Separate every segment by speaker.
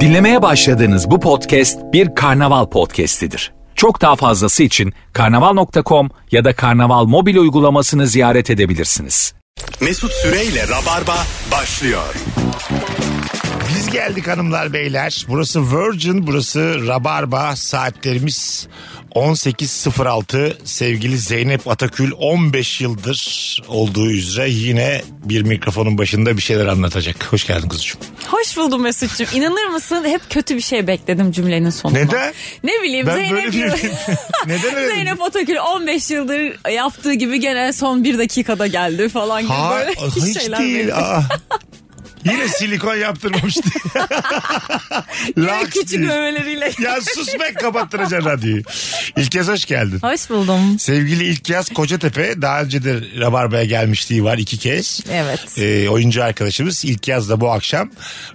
Speaker 1: Dinlemeye başladığınız bu podcast bir karnaval podcastidir. Çok daha fazlası için karnaval.com ya da karnaval mobil uygulamasını ziyaret edebilirsiniz.
Speaker 2: Mesut Süreyle Rabarba başlıyor.
Speaker 3: Biz geldik hanımlar beyler. Burası Virgin, burası Rabarba. Saatlerimiz 18.06. Sevgili Zeynep Atakül 15 yıldır olduğu üzere yine bir mikrofonun başında bir şeyler anlatacak. Hoş geldin kuzucuğum.
Speaker 4: Hoş buldum Mesut'cum. İnanır mısın hep kötü bir şey bekledim cümlenin sonunda.
Speaker 3: Neden?
Speaker 4: Ne bileyim
Speaker 3: Ben
Speaker 4: Zeynep,
Speaker 3: böyle bir... şey Neden öyle?
Speaker 4: Zeynep Atakül 15 yıldır yaptığı gibi gene son bir dakikada geldi falan gibi
Speaker 3: Ha,
Speaker 4: böyle
Speaker 3: hiç
Speaker 4: şeyler
Speaker 3: değil.
Speaker 4: bekledim.
Speaker 3: Aa. Yine silikon yaptırmamıştı.
Speaker 4: Böyle
Speaker 3: Laks
Speaker 4: küçük
Speaker 3: değil.
Speaker 4: ömeleriyle.
Speaker 3: Ya sus be kapattıracaksın radyoyu. İlk kez hoş geldin.
Speaker 4: Hoş buldum.
Speaker 3: Sevgili İlk Yaz Kocatepe daha önce de Rabarba'ya gelmişliği var iki kez.
Speaker 4: Evet.
Speaker 3: Ee, oyuncu arkadaşımız İlk Yaz da bu akşam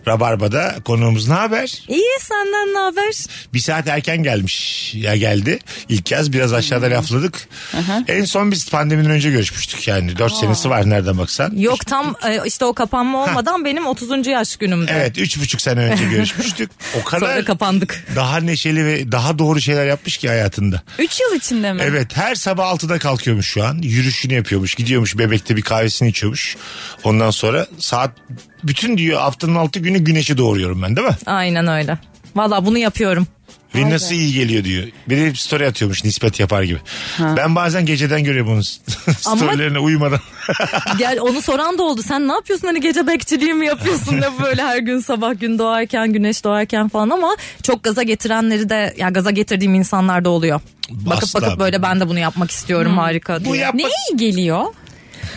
Speaker 3: Rabarba'da konuğumuz ne haber?
Speaker 4: İyi senden ne haber?
Speaker 3: Bir saat erken gelmiş ya geldi. İlk Yaz biraz aşağıda lafladık. En son biz pandemiden önce görüşmüştük yani. Dört senesi var nereden baksan.
Speaker 5: Yok tam e, işte o kapanma olmadan benim 30. yaş günümde.
Speaker 3: Evet üç buçuk sene önce görüşmüştük. O
Speaker 5: Sonra
Speaker 3: kadar
Speaker 5: kapandık.
Speaker 3: daha neşeli ve daha doğru şeyler yapmış ki hayatında.
Speaker 4: 3 yıl içinde mi?
Speaker 3: Evet her sabah 6'da kalkıyormuş şu an. Yürüyüşünü yapıyormuş. Gidiyormuş bebekte bir kahvesini içiyormuş. Ondan sonra saat bütün diyor haftanın 6 günü güneşi doğuruyorum ben değil mi?
Speaker 5: Aynen öyle. Valla bunu yapıyorum.
Speaker 3: Ve nasıl iyi geliyor diyor. Bir de story atıyormuş nispet yapar gibi. Ben bazen geceden görüyorum onun storylerine uyumadan.
Speaker 5: Gel onu soran da oldu. Sen ne yapıyorsun hani gece bekçiliği mi yapıyorsun da böyle her gün sabah gün doğarken güneş doğarken falan ama çok gaza getirenleri de ya gaza getirdiğim insanlar da oluyor. Bakıp
Speaker 3: Asla.
Speaker 5: bakıp böyle ben de bunu yapmak istiyorum harika diye.
Speaker 3: Bu yapma-
Speaker 4: Ne iyi geliyor?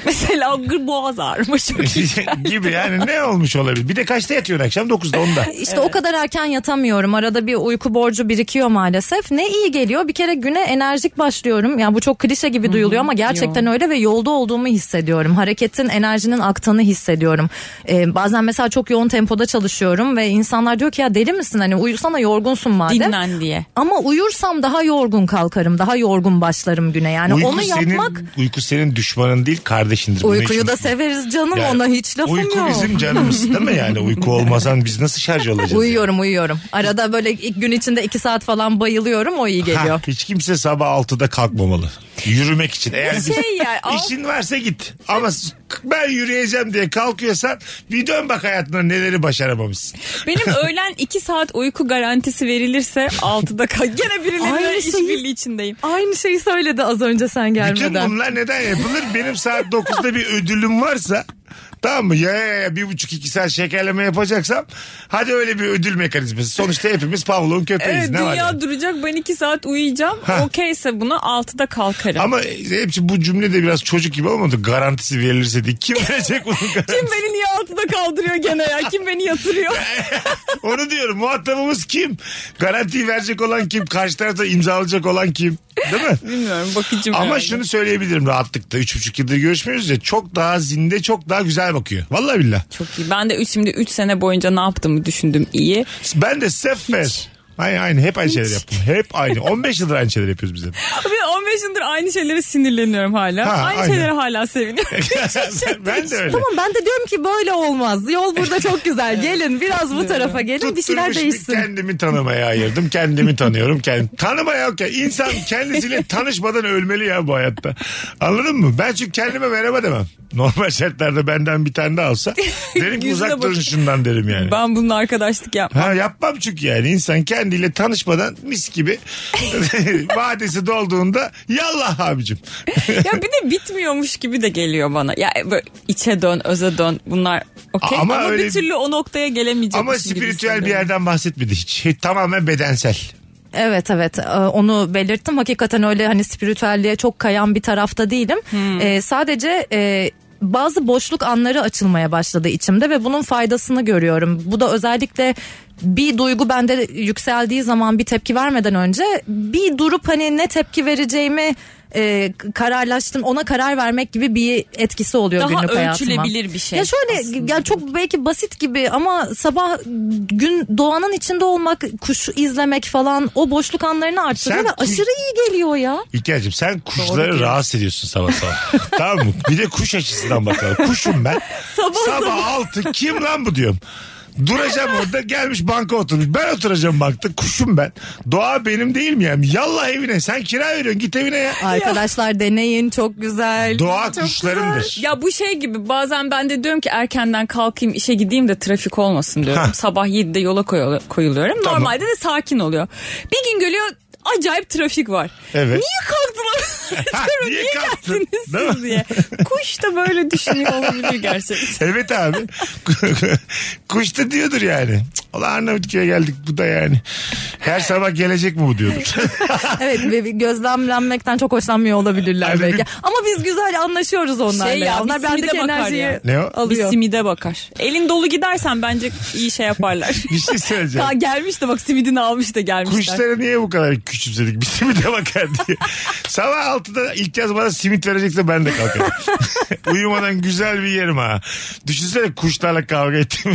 Speaker 4: Mesela gır boğaz ağrıma çok iyi.
Speaker 3: gibi yani ne olmuş olabilir. Bir de kaçta yatıyorsun akşam 9'da 10'da.
Speaker 5: İşte o kadar erken yatamıyorum. Arada bir uyku borcu birikiyor maalesef. Ne iyi geliyor. Bir kere güne enerjik başlıyorum. Yani bu çok klişe gibi duyuluyor ama gerçekten öyle ve yolda olduğumu hissediyorum. Hareketin, enerjinin aktığını hissediyorum. Ee, bazen mesela çok yoğun tempoda çalışıyorum ve insanlar diyor ki ya deli misin? Hani uyusana yorgunsun madem.
Speaker 4: Dinlen diye.
Speaker 5: Ama uyursam daha yorgun kalkarım. Daha yorgun başlarım güne. Yani
Speaker 3: Uyku
Speaker 5: onu
Speaker 3: senin,
Speaker 5: yapmak
Speaker 3: Uyku senin düşmanın değil kardeşindir. Bunu
Speaker 5: Uykuyu
Speaker 3: hiç
Speaker 5: da
Speaker 3: unutma.
Speaker 5: severiz canım
Speaker 3: Yani
Speaker 5: ona hiç lafım
Speaker 3: Uyku
Speaker 5: yok.
Speaker 3: bizim canımız değil mi yani? Uyku olmasan biz nasıl şarj olacağız? yani?
Speaker 5: Uyuyorum uyuyorum. Arada böyle ilk gün içinde iki saat falan bayılıyorum o iyi geliyor.
Speaker 3: Ha, hiç kimse sabah 6'da kalkmamalı. Yürümek için. Eğer bir
Speaker 4: Şey yani, al-
Speaker 3: işin varsa git. Ama s- ben yürüyeceğim diye kalkıyorsan bir dön bak hayatına neleri başaramamışsın.
Speaker 4: Benim öğlen 2 saat uyku garantisi verilirse 6'da kal. Gene birileriyle
Speaker 5: Aynı şeyi-
Speaker 4: işbirliği içindeyim.
Speaker 5: Aynı şeyi söyledi az önce
Speaker 3: Bütün
Speaker 5: sen gelmeden.
Speaker 3: bunlar neden yapılır? Benim saat 9'da bir ödülüm varsa Tamam mı? Ya ya ya bir buçuk iki saat şekerleme yapacaksam hadi öyle bir ödül mekanizması. Sonuçta hepimiz Pavlov'un köpeğiz.
Speaker 4: Evet
Speaker 3: ne var
Speaker 4: dünya
Speaker 3: yani?
Speaker 4: duracak ben iki saat uyuyacağım. Okeyse buna altıda kalkarım.
Speaker 3: Ama hepsi bu cümle de biraz çocuk gibi olmadı. Garantisi verilirse diye. Kim verecek bunun garantisi?
Speaker 4: Kim beni niye altıda kaldırıyor gene ya? Kim beni yatırıyor?
Speaker 3: Onu diyorum. Muhatabımız kim? Garantiyi verecek olan kim? Karşı tarafta imzalayacak olan kim? Değil mi?
Speaker 4: Bilmiyorum bakıcım.
Speaker 3: Ama
Speaker 4: herhalde.
Speaker 3: şunu söyleyebilirim rahatlıkla. Üç buçuk yıldır görüşmüyoruz ya. Çok daha zinde, çok daha güzel bakıyor. Vallahi billah.
Speaker 4: Çok iyi. Ben de üç, şimdi 3 sene boyunca ne yaptığımı düşündüm iyi.
Speaker 3: Ben de sefer. Aynı aynı. Hep aynı şeyler yaptım. Hep aynı. 15 yıldır aynı şeyler yapıyoruz biz hep.
Speaker 4: Ben 15 yıldır aynı şeylere sinirleniyorum hala.
Speaker 3: Ha,
Speaker 4: aynı
Speaker 3: aynen.
Speaker 4: şeylere hala seviniyorum.
Speaker 3: ben de öyle.
Speaker 5: Tamam ben de diyorum ki böyle olmaz. Yol burada çok güzel. Gelin biraz bu tarafa gelin bir şeyler
Speaker 3: Tutturmuş bir
Speaker 5: değişsin.
Speaker 3: Kendimi tanımaya ayırdım. Kendimi tanıyorum. Kend tanımaya okey. İnsan kendisiyle tanışmadan ölmeli ya bu hayatta. Anladın mı? Ben çünkü kendime merhaba demem. Normal şartlarda benden bir tane daha olsa derim ki
Speaker 4: Yüzüne
Speaker 3: uzak durun
Speaker 4: bakın.
Speaker 3: şundan derim yani.
Speaker 4: ben bununla arkadaşlık yapmam.
Speaker 3: Ha yapmam çünkü yani insan kendiyle tanışmadan mis gibi vadesi dolduğunda yallah abicim.
Speaker 4: ya bir de bitmiyormuş gibi de geliyor bana. Ya e, böyle içe dön, öze dön. Bunlar okey
Speaker 3: Ama
Speaker 4: ama,
Speaker 3: öyle-
Speaker 4: bir türlü o noktaya gelemeyecek.
Speaker 3: Ama spiritüel bir yerden bahsetmedi hiç. Hiç Tamamen bedensel.
Speaker 5: Evet evet Ee, onu belirttim. Hakikaten öyle hani spiritüelliğe çok kayan bir tarafta değilim.
Speaker 4: Hmm.
Speaker 5: Ee, sadece e, bazı boşluk anları açılmaya başladı içimde ve bunun faydasını görüyorum. Bu da özellikle bir duygu bende yükseldiği zaman bir tepki vermeden önce bir durup hani ne tepki vereceğimi e, kararlaştım ona karar vermek gibi bir etkisi oluyor
Speaker 4: Daha
Speaker 5: günlük hayatıma.
Speaker 4: ölçülebilir bir şey
Speaker 5: Ya şöyle
Speaker 4: aslında.
Speaker 5: ya çok belki basit gibi ama sabah gün doğanın içinde olmak, kuşu izlemek falan o boşluk anlarını arttırıyor
Speaker 3: Sen
Speaker 5: ve
Speaker 3: kuş-
Speaker 5: aşırı iyi geliyor ya.
Speaker 3: İlker'cim sen kuşları rahatsız ediyorsun sabah sabah. tamam mı? Bir de kuş açısından bakalım. Kuşum ben. sabah altı kim lan bu diyorum. Duracağım orada gelmiş banka oturmuş. Ben oturacağım bankta kuşum ben. Doğa benim değil mi yani? Yallah evine sen kira veriyorsun git evine ya.
Speaker 5: Arkadaşlar deneyin çok güzel.
Speaker 3: Doğa
Speaker 5: Çok
Speaker 3: kuşlarımdır.
Speaker 4: Ya bu şey gibi bazen ben de diyorum ki erkenden kalkayım işe gideyim de trafik olmasın diyorum.
Speaker 3: Hah.
Speaker 4: Sabah 7'de yola koyu- koyuluyorum.
Speaker 3: Tamam.
Speaker 4: Normalde de sakin oluyor. Bir gün geliyor acayip trafik var.
Speaker 3: Evet.
Speaker 4: Niye kalktın?
Speaker 3: Ha,
Speaker 4: Diyorum,
Speaker 3: niye
Speaker 4: niye,
Speaker 3: kalktın?
Speaker 4: geldiniz
Speaker 3: Değil mi?
Speaker 4: siz diye. Kuş da böyle düşünüyor olabilir gerçekten.
Speaker 3: Evet abi. Kuş da diyordur yani. Cık, Ulan Arnavutköy'e geldik bu da yani. Her sabah gelecek mi bu diyordur.
Speaker 5: Evet ve bir gözlemlenmekten çok hoşlanmıyor olabilirler
Speaker 3: Yani
Speaker 5: belki.
Speaker 3: bir-
Speaker 5: Ama biz güzel anlaşıyoruz onlarla.
Speaker 4: Şey ya,
Speaker 5: ya.
Speaker 4: bir
Speaker 5: Onlar
Speaker 4: simide
Speaker 5: bendeki
Speaker 4: bakar
Speaker 5: enerjiyi
Speaker 4: ya.
Speaker 3: Ne o?
Speaker 4: Bir
Speaker 5: alıyor.
Speaker 4: simide bakar. Elin dolu gidersen bence iyi şey yaparlar.
Speaker 3: Bir şey söyleyeceğim.
Speaker 4: Ka- gelmiş de bak simidini almış da gelmişler.
Speaker 3: Kuşları niye bu kadar küçümsedik? Bir simite bakar diye. Sabah 6'da ilk yaz bana simit verecekse ben de kalkarım. Uyumadan güzel bir yerim ha. Düşünsene kuşlarla kavga ettim.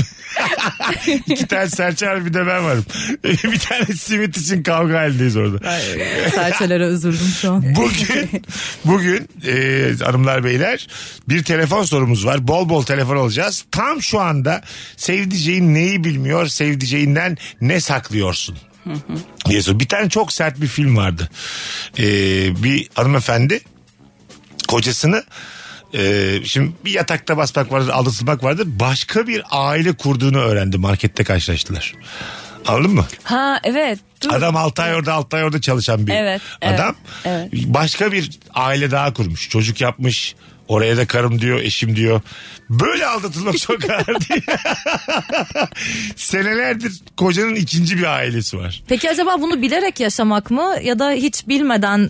Speaker 3: İki tane serçe var bir de ben varım. bir tane simit için kavga halindeyiz orada.
Speaker 5: Serçelere üzüldüm şu an.
Speaker 3: Bugün bugün e, hanımlar beyler bir telefon sorumuz var. Bol bol telefon alacağız. Tam şu anda sevdiceğin neyi bilmiyor, sevdiceğinden ne saklıyorsun? diye soruyor. bir tane çok sert bir film vardı. E, bir hanımefendi kocasını e, şimdi bir yatakta basmak vardır, aldatılmak vardır. Başka bir aile kurduğunu öğrendi. Markette karşılaştılar. Anladın mı?
Speaker 4: Ha evet. Dur.
Speaker 3: Adam 6 ay orada 6 ay orada çalışan bir
Speaker 4: Evet, evet,
Speaker 3: adam.
Speaker 4: evet.
Speaker 3: Başka bir aile daha kurmuş. Çocuk yapmış. Oraya da karım diyor, eşim diyor. Böyle aldatılmak çok ağır değil. Senelerdir kocanın ikinci bir ailesi var.
Speaker 5: Peki acaba bunu bilerek yaşamak mı ya da hiç bilmeden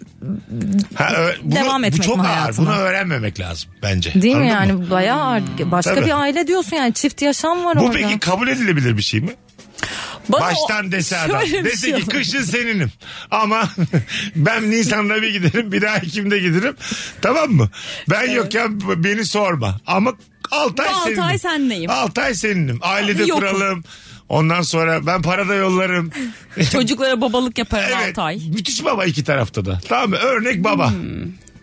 Speaker 3: Ha, ö- bunu,
Speaker 5: Devam
Speaker 3: bu
Speaker 5: etmek
Speaker 3: çok
Speaker 5: mi
Speaker 3: ağır.
Speaker 5: hayatına?
Speaker 3: Bunu öğrenmemek lazım bence.
Speaker 5: değil mi
Speaker 3: Anladın
Speaker 5: yani
Speaker 3: mı?
Speaker 5: bayağı artık başka
Speaker 3: Tabii.
Speaker 5: bir aile diyorsun yani çift yaşam var
Speaker 3: Bu
Speaker 5: orada.
Speaker 3: peki kabul edilebilir bir şey mi?
Speaker 4: Bana o-
Speaker 3: Baştan dese adam.
Speaker 4: Şöyle bir
Speaker 3: Dese
Speaker 4: şey
Speaker 3: ki
Speaker 4: olur.
Speaker 3: kışın seninim. Ama ben Nisan'da bir giderim bir daha Ekim'de giderim. Tamam mı? Ben yokken beni sorma. Ama 6 ay
Speaker 4: Bu altı
Speaker 3: seninim.
Speaker 4: ay sendeyim.
Speaker 3: 6 ay seninim. Ailede
Speaker 4: Yokum.
Speaker 3: kuralım. Ondan sonra ben parada yollarım.
Speaker 4: Çocuklara babalık yaparım
Speaker 3: evet.
Speaker 4: 6 ay. Hmm.
Speaker 3: Müthiş baba iki tarafta da. Tamam mı? Örnek baba.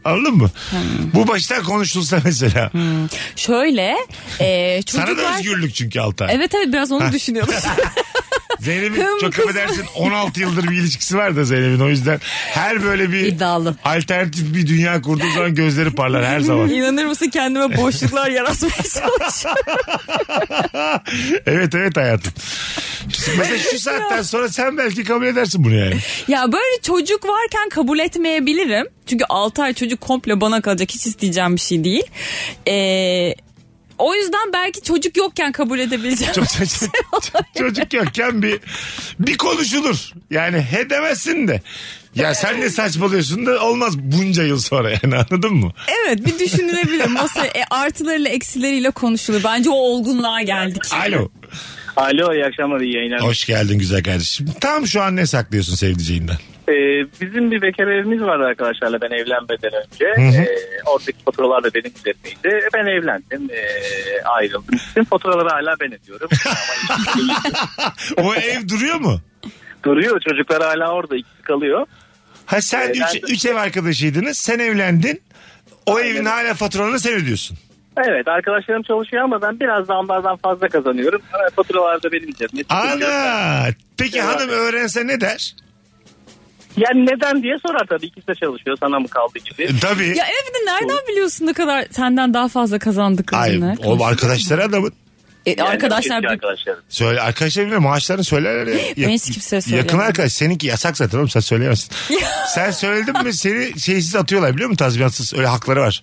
Speaker 3: Anladın mı? Bu baştan konuşulsa mesela.
Speaker 4: Şöyle e,
Speaker 3: Sana
Speaker 4: Hmm. çocuklar...
Speaker 3: da özgürlük çünkü altı ay.
Speaker 4: Evet evet biraz onu düşünüyorum.
Speaker 3: Zeynep'in
Speaker 4: Hım
Speaker 3: çok
Speaker 4: kızım.
Speaker 3: affedersin 16 yıldır bir ilişkisi var da Zeynep'in o yüzden her böyle bir
Speaker 5: İddialı.
Speaker 3: alternatif bir dünya kurduğu zaman gözleri parlar her zaman.
Speaker 4: İnanır mısın kendime boşluklar yaratmaya çalışıyorum.
Speaker 3: evet evet hayatım. Mesela şu saatten sonra sen belki kabul edersin bunu yani.
Speaker 4: ya böyle çocuk varken kabul etmeyebilirim. Çünkü 6 ay çocuk komple bana kalacak hiç isteyeceğim bir şey değil. E, o yüzden belki çocuk yokken kabul edebileceğim.
Speaker 3: Çok saçma. Çocuk yokken bir bir konuşulur. Yani he demezsin de. Ya sen ne saçmalıyorsun da olmaz bunca yıl sonra yani anladın mı?
Speaker 4: Evet bir düşünülebilir. Masa e, artılarıyla eksileriyle konuşulur. Bence o olgunluğa geldik.
Speaker 3: Alo.
Speaker 6: Alo iyi akşamlar iyi yayınlar.
Speaker 3: Hoş geldin güzel kardeşim. Tam şu an ne saklıyorsun sevdiceğinden?
Speaker 6: Ee, bizim bir bekar evimiz vardı arkadaşlarla ben evlenmeden önce.
Speaker 3: Hı hı.
Speaker 6: Ee, oradaki faturalar da benim üzerimeydi. E, Ben evlendim ee, ayrıldım. Bütün faturaları hala ben ödüyorum. Ama hiç-
Speaker 3: O ev duruyor mu?
Speaker 6: Duruyor çocuklar hala orada ikisi kalıyor.
Speaker 3: Ha sen
Speaker 6: Ee,
Speaker 3: üç,
Speaker 6: ben-
Speaker 3: üç ev arkadaşıydınız. Sen evlendin. O
Speaker 6: Aynen.
Speaker 3: evin hala faturalarını sen ödüyorsun.
Speaker 6: Evet arkadaşlarım çalışıyor ama ben biraz daha onlardan fazla kazanıyorum. Ama Faturalar da benim üzerimde.
Speaker 3: Ana! Peki
Speaker 6: Evet.
Speaker 3: hanım öğrense ne der?
Speaker 6: Yani neden diye sorar tabii ikisi de çalışıyor sana mı kaldı gibi.
Speaker 3: E, tabii.
Speaker 4: Ya evde nereden biliyorsun ne kadar senden daha fazla
Speaker 3: Ay,
Speaker 4: kazandıklarını?
Speaker 3: o arkadaşları adamın.
Speaker 4: E,
Speaker 6: Yani
Speaker 4: arkadaşlar
Speaker 6: eski
Speaker 4: bir-
Speaker 6: arkadaşlarım.
Speaker 3: Söyle arkadaşlar bile maaşlarını söylerler ya.
Speaker 4: Ben hiç kimseye söylemem.
Speaker 3: Yakın arkadaş seninki yasak zaten oğlum sen söyleyemezsin. sen söyledin mi seni şeysiz atıyorlar biliyor musun tazminatsız öyle hakları var.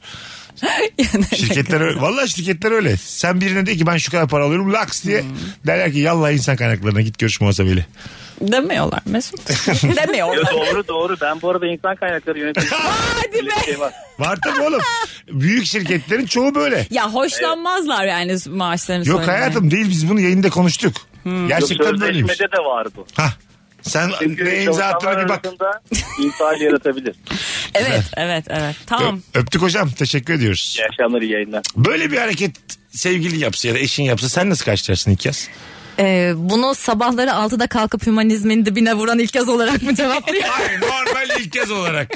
Speaker 4: Yani-
Speaker 3: Şirketler öyle. Valla şirketler öyle. Sen birine de ki ben şu kadar para alıyorum laks diye. Derler ki yallah insan kaynaklarına git görüş muhasebeyle.
Speaker 4: Demiyorlar Mesut. Demiyorlar.
Speaker 6: Yo, doğru doğru ben bu arada insan kaynakları yöneticisi.
Speaker 4: Hadi be.
Speaker 6: şey var.
Speaker 3: Var tabii oğlum. Büyük şirketlerin çoğu böyle.
Speaker 4: Ya hoşlanmazlar yani maaşlarını
Speaker 3: Yok
Speaker 4: söylemeye.
Speaker 3: hayatım değil biz bunu yayında konuştuk. Gerçekten böyleymiş.
Speaker 6: Sözleşmede de var bu.
Speaker 3: Hah. Sen ne imza attığına bir bak.
Speaker 6: infial yaratabilir.
Speaker 4: Evet evet evet. Tamam.
Speaker 3: Ö- Öptük hocam. Teşekkür ediyoruz.
Speaker 6: İyi akşamlar iyi yayınlar.
Speaker 3: Böyle bir hareket sevgilin yapsa ya da eşin yapsa sen nasıl karşılarsın ilk yaz?
Speaker 5: Ee, bunu sabahları 6'da kalkıp hümanizmin dibine vuran ilk kez olarak mı cevaplayayım?
Speaker 3: Hayır normal ilk kez olarak.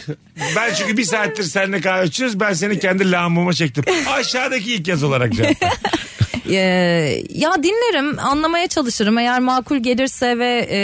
Speaker 3: Ben çünkü bir saattir seninle kahve içiyoruz. Ben seni kendi lambama çektim. Aşağıdaki ilk kez olarak cevap. ver.
Speaker 5: Ee, ya dinlerim, anlamaya çalışırım. Eğer makul gelirse ve e,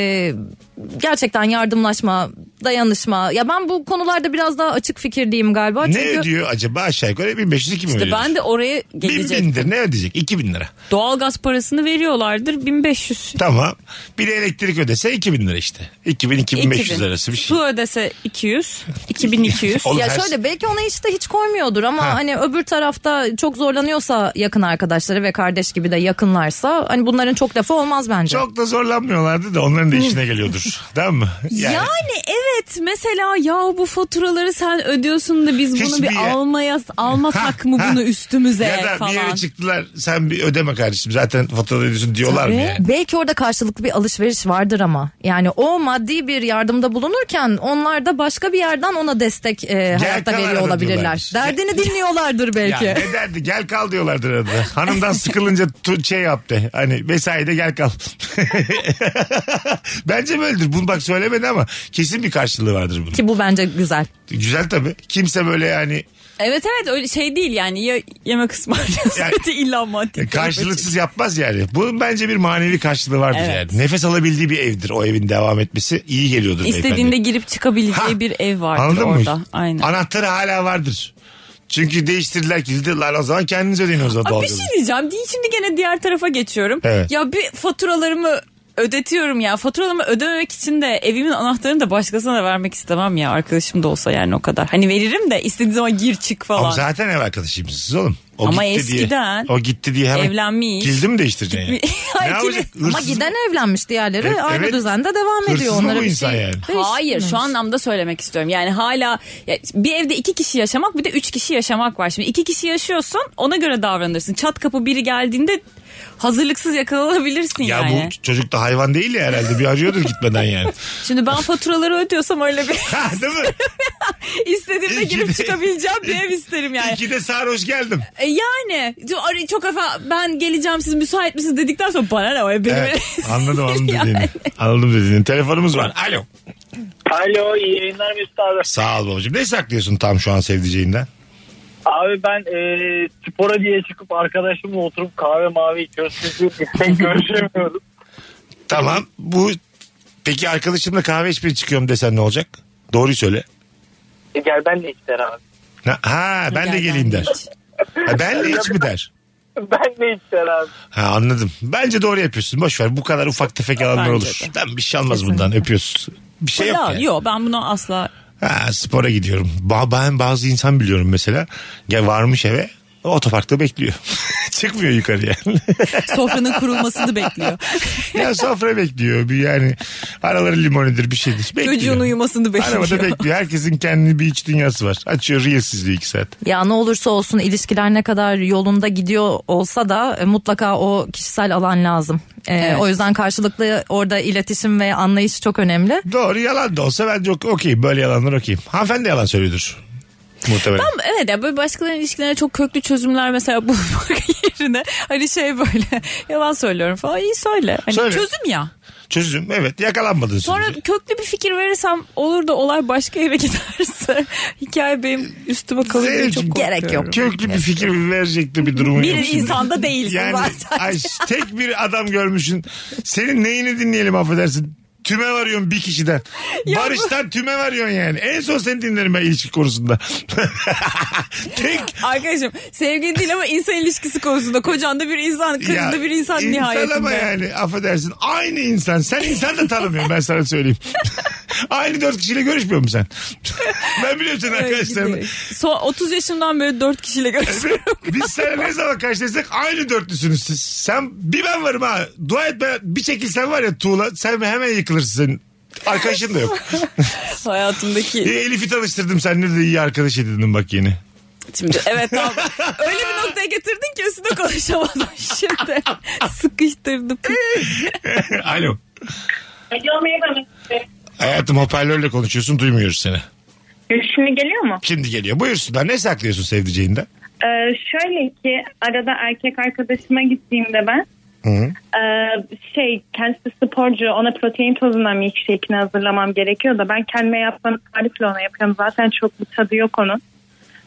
Speaker 5: gerçekten yardımlaşma, dayanışma. Ya ben bu konularda biraz daha açık fikirliyim galiba.
Speaker 3: Ne
Speaker 5: Çünkü
Speaker 3: ödüyor acaba aşağı yukarı 1500-2000
Speaker 4: İşte ben de oraya gelecektim.
Speaker 3: bindir ne ödeyecek? 2000 lira.
Speaker 4: Doğalgaz parasını veriyorlardır 1500.
Speaker 3: Tamam. Bir de elektrik ödese 2000 lira işte. 2000-2500 arası bir şey.
Speaker 4: Su ödese 200, 2200.
Speaker 3: Oğlum
Speaker 5: ya
Speaker 3: her-
Speaker 5: şöyle belki ona işte hiç koymuyordur ama
Speaker 3: Ha.
Speaker 5: hani öbür tarafta çok zorlanıyorsa yakın arkadaşları ve kardeş gibi de yakınlarsa hani bunların çok lafı olmaz bence.
Speaker 3: Çok da zorlanmıyorlardı da onların da işine geliyordur. tamam mı?
Speaker 4: Yani. evet mesela ya bu faturaları sen ödüyorsun da biz bunu
Speaker 3: Hiçbir
Speaker 4: bir
Speaker 3: yer-
Speaker 4: almaya almasak mı
Speaker 3: ha.
Speaker 4: bunu üstümüze
Speaker 3: ya da bir
Speaker 4: falan.
Speaker 3: yere çıktılar sen bir ödeme kardeşim zaten fatura ödüyorsun diyorlar mı yani?
Speaker 5: Belki orada karşılıklı bir alışveriş vardır ama. Yani o maddi bir yardımda bulunurken onlar da başka bir yerden ona destek e, hayatta
Speaker 3: kal
Speaker 5: veriyor
Speaker 3: arada
Speaker 5: olabilirler.
Speaker 3: diyorlarmış.
Speaker 5: Derdini dinliyorlardır
Speaker 3: Ya
Speaker 5: belki.
Speaker 3: ne derdi gel kal diyorlardır arada. Hanımdan sıkılınca tu- şey yaptı. Hani mesaide gel kal. Bence böyledir. Bunu bak söylemedi ama kesin bir karşılığı vardır bunun.
Speaker 5: Ki bu bence güzel.
Speaker 3: Güzel tabii. Kimse böyle yani
Speaker 4: Evet evet öyle şey değil yani ya yemek ısmarlıyorsun
Speaker 3: Yani-
Speaker 4: yani, illa maddi.
Speaker 3: karşılıksız yapmaz yani. Bunun bence bir manevi karşılığı vardır
Speaker 4: Evet.
Speaker 3: yani. Nefes alabildiği bir evdir o evin devam etmesi. iyi geliyordur
Speaker 4: İstediğinde
Speaker 3: beyefendi.
Speaker 4: girip çıkabileceği
Speaker 3: Ha.
Speaker 4: bir ev vardır
Speaker 3: Anladın
Speaker 4: orada.
Speaker 3: mı?
Speaker 4: Aynen.
Speaker 3: Anahtarı hala vardır. Çünkü değiştirdiler kilidi lan o zaman kendiniz ödeyin o zaman
Speaker 4: Aa, bir
Speaker 3: doğalgazı.
Speaker 4: şey diyeceğim. Di- Şimdi gene diğer tarafa geçiyorum.
Speaker 3: Evet.
Speaker 4: Ya bir faturalarımı ödetiyorum ya. Faturalarımı ödememek için de evimin anahtarını da başkasına da vermek istemem ya. Arkadaşım da olsa yani o kadar. Hani veririm de istediği zaman gir çık
Speaker 3: Ama
Speaker 4: falan.
Speaker 3: zaten ev arkadaşıymışsınız oğlum. O
Speaker 4: Ama
Speaker 3: gitti diye-
Speaker 4: eskiden
Speaker 3: o gitti diye hemen
Speaker 4: evlenmiş.
Speaker 3: Kilidi mi değiştireceksin yani?
Speaker 4: Ay,
Speaker 3: ne yapacak?
Speaker 4: kilit-
Speaker 5: Ama
Speaker 3: Hırsız-
Speaker 5: giden evlenmiş diğerleri
Speaker 3: Evet,
Speaker 5: aynı
Speaker 3: evet.
Speaker 5: düzende devam ediyor.
Speaker 3: Hırsız mı
Speaker 5: Onlara
Speaker 3: bu
Speaker 5: bir
Speaker 3: insan
Speaker 5: şey
Speaker 3: yani?
Speaker 4: Hayır şu anlamda söylemek istiyorum. Yani hala ya bir evde iki kişi yaşamak bir de üç kişi yaşamak var. Şimdi iki kişi yaşıyorsun ona göre davranırsın. Çat kapı biri geldiğinde hazırlıksız yakalanabilirsin
Speaker 3: Ya
Speaker 4: yani.
Speaker 3: bu çocuk da hayvan değil ya herhalde bir arıyordur gitmeden yani.
Speaker 4: Şimdi ben faturaları ödüyorsam öyle bir
Speaker 3: Ha, değil mi?
Speaker 4: İstediğimde
Speaker 3: İyi ki de-
Speaker 4: girip çıkabileceğim bir
Speaker 3: E,
Speaker 4: ev isterim yani.
Speaker 3: İki de sarhoş geldim.
Speaker 4: E yani çok- ara- çok afa ben geleceğim siz müsait misiniz dedikten sonra bana ne o ev benim
Speaker 3: Evet,
Speaker 4: ev.
Speaker 3: anladım anladım
Speaker 4: Yani.
Speaker 3: dediğini. Anladım dediğini. Telefonumuz var. Alo.
Speaker 6: Alo iyi yayınlar Mesut abi.
Speaker 3: Sağ ol babacığım. Ne saklıyorsun tam şu an sevdiceğinden?
Speaker 6: Abi ben e, spora diye çıkıp arkadaşımla oturup kahve mavi içiyoruz. Çünkü pek görüşemiyoruz.
Speaker 3: Tamam. Bu peki arkadaşımla kahve içmeye çıkıyorum desen ne olacak? Doğruyu söyle.
Speaker 6: E, gel ben de ister abi.
Speaker 3: Ha, ha, ben de
Speaker 4: Gel,
Speaker 3: geleyim
Speaker 4: ben
Speaker 3: der.
Speaker 4: de iç.
Speaker 3: Ha, ben de hiç mi der?
Speaker 6: Ben de ister abi.
Speaker 3: Ha, anladım. Bence doğru yapıyorsun. Boş ver. Bu kadar ufak tefek alanlar
Speaker 4: Bence
Speaker 3: olur.
Speaker 4: de.
Speaker 3: Tamam bir şey almaz bundan. Öpüyorsun. Bir şey yok.
Speaker 4: Ya,
Speaker 3: yani.
Speaker 4: Yok ben bunu asla
Speaker 3: Ha, spora gidiyorum. Ba- Ben bazı insan biliyorum mesela. Gel varmış eve otoparkta bekliyor. Çıkmıyor yukarı yani.
Speaker 4: sofranın kurulmasını bekliyor.
Speaker 3: ya sofra bekliyor. Bir yani araları limonidir bir şeydir. Bekliyor.
Speaker 4: Çocuğun uyumasını
Speaker 3: Arabada
Speaker 4: bekliyor.
Speaker 3: bekliyor. Herkesin kendi bir iç dünyası var. Açıyor Reels izliyor iki saat.
Speaker 5: Ya ne olursa olsun ilişkiler ne kadar yolunda gidiyor olsa da e, mutlaka o kişisel alan lazım. E,
Speaker 4: Evet.
Speaker 5: O yüzden karşılıklı orada iletişim ve anlayış çok önemli.
Speaker 3: Doğru yalan da olsa bence ok- okeyim. Böyle yalanlar okeyim. Hanımefendi yalan söylüyordur. Muhtemelen.
Speaker 4: Evet ya böyle başkalarının ilişkilerine çok köklü çözümler mesela bulmak yerine hani şey böyle yalan söylüyorum falan iyi söyle. Hani
Speaker 3: Söyle.
Speaker 4: çözüm ya.
Speaker 3: Çözüm evet yakalanmadın.
Speaker 4: Sonra
Speaker 3: sürece.
Speaker 4: köklü bir fikir verirsem olur da olay başka yere giderse hikaye benim üstüme kalır diye çok
Speaker 3: Zeynep'ciğim,
Speaker 4: korkuyorum.
Speaker 5: Gerek yok.
Speaker 3: Köklü bir fikir verecek de bir durumu
Speaker 4: Bir
Speaker 3: yok şimdi.
Speaker 4: insanda değilsin
Speaker 3: Yani
Speaker 4: zaten.
Speaker 3: ay, tek bir adam görmüşsün. Senin neyini dinleyelim affedersin. Tüme varıyorsun bir kişiden. Barış'tan tüme varıyorsun yani. En son seni dinlerim ben ilişki konusunda. tek
Speaker 4: Arkadaşım sevgili değil ama insan ilişkisi konusunda kocan da bir insan, karın
Speaker 3: ya,
Speaker 4: da bir insan, nihayetinde.
Speaker 3: ama yani affedersin. Aynı insan. Sen insan da tanımıyorsun ben sana söyleyeyim. Aynı dört kişiyle görüşmüyor musun sen? ben biliyorum senin
Speaker 4: Evet,
Speaker 3: arkadaşlarını.
Speaker 4: gidiyor. Son 30 yaşımdan beri 4 kişiyle görüşüyorum.
Speaker 3: Biz seninle ne zaman karşılaşsak aynı dörtlüsünüz siz. Sen bir ben varım ha. Dua et ben bir çekilsen var ya tuğla sen hemen yıkılırsın. Arkadaşın da yok. E,
Speaker 4: Hayatımdaki
Speaker 3: Elif'i tanıştırdım seninle de iyi arkadaş edindim bak yeni.
Speaker 4: şimdi evet tamam. Öyle bir noktaya getirdin ki üstüne konuşamadım şimdi. Sıkıştırdım.
Speaker 3: Alo. Hayatım hoparlörle konuşuyorsun duymuyoruz seni.
Speaker 7: Şimdi geliyor mu?
Speaker 3: Şimdi geliyor. Buyursunlar ne saklıyorsun sevdiceğinden?
Speaker 7: Ee, şöyle ki arada erkek arkadaşıma gittiğimde ben
Speaker 3: Hı.
Speaker 7: ee, şey kendisi sporcu ona protein tozundan milkshake'ini hazırlamam gerekiyor da ben kendime yaptığım tarifle ona yapıyorum. Zaten çok bir tadı yok onun.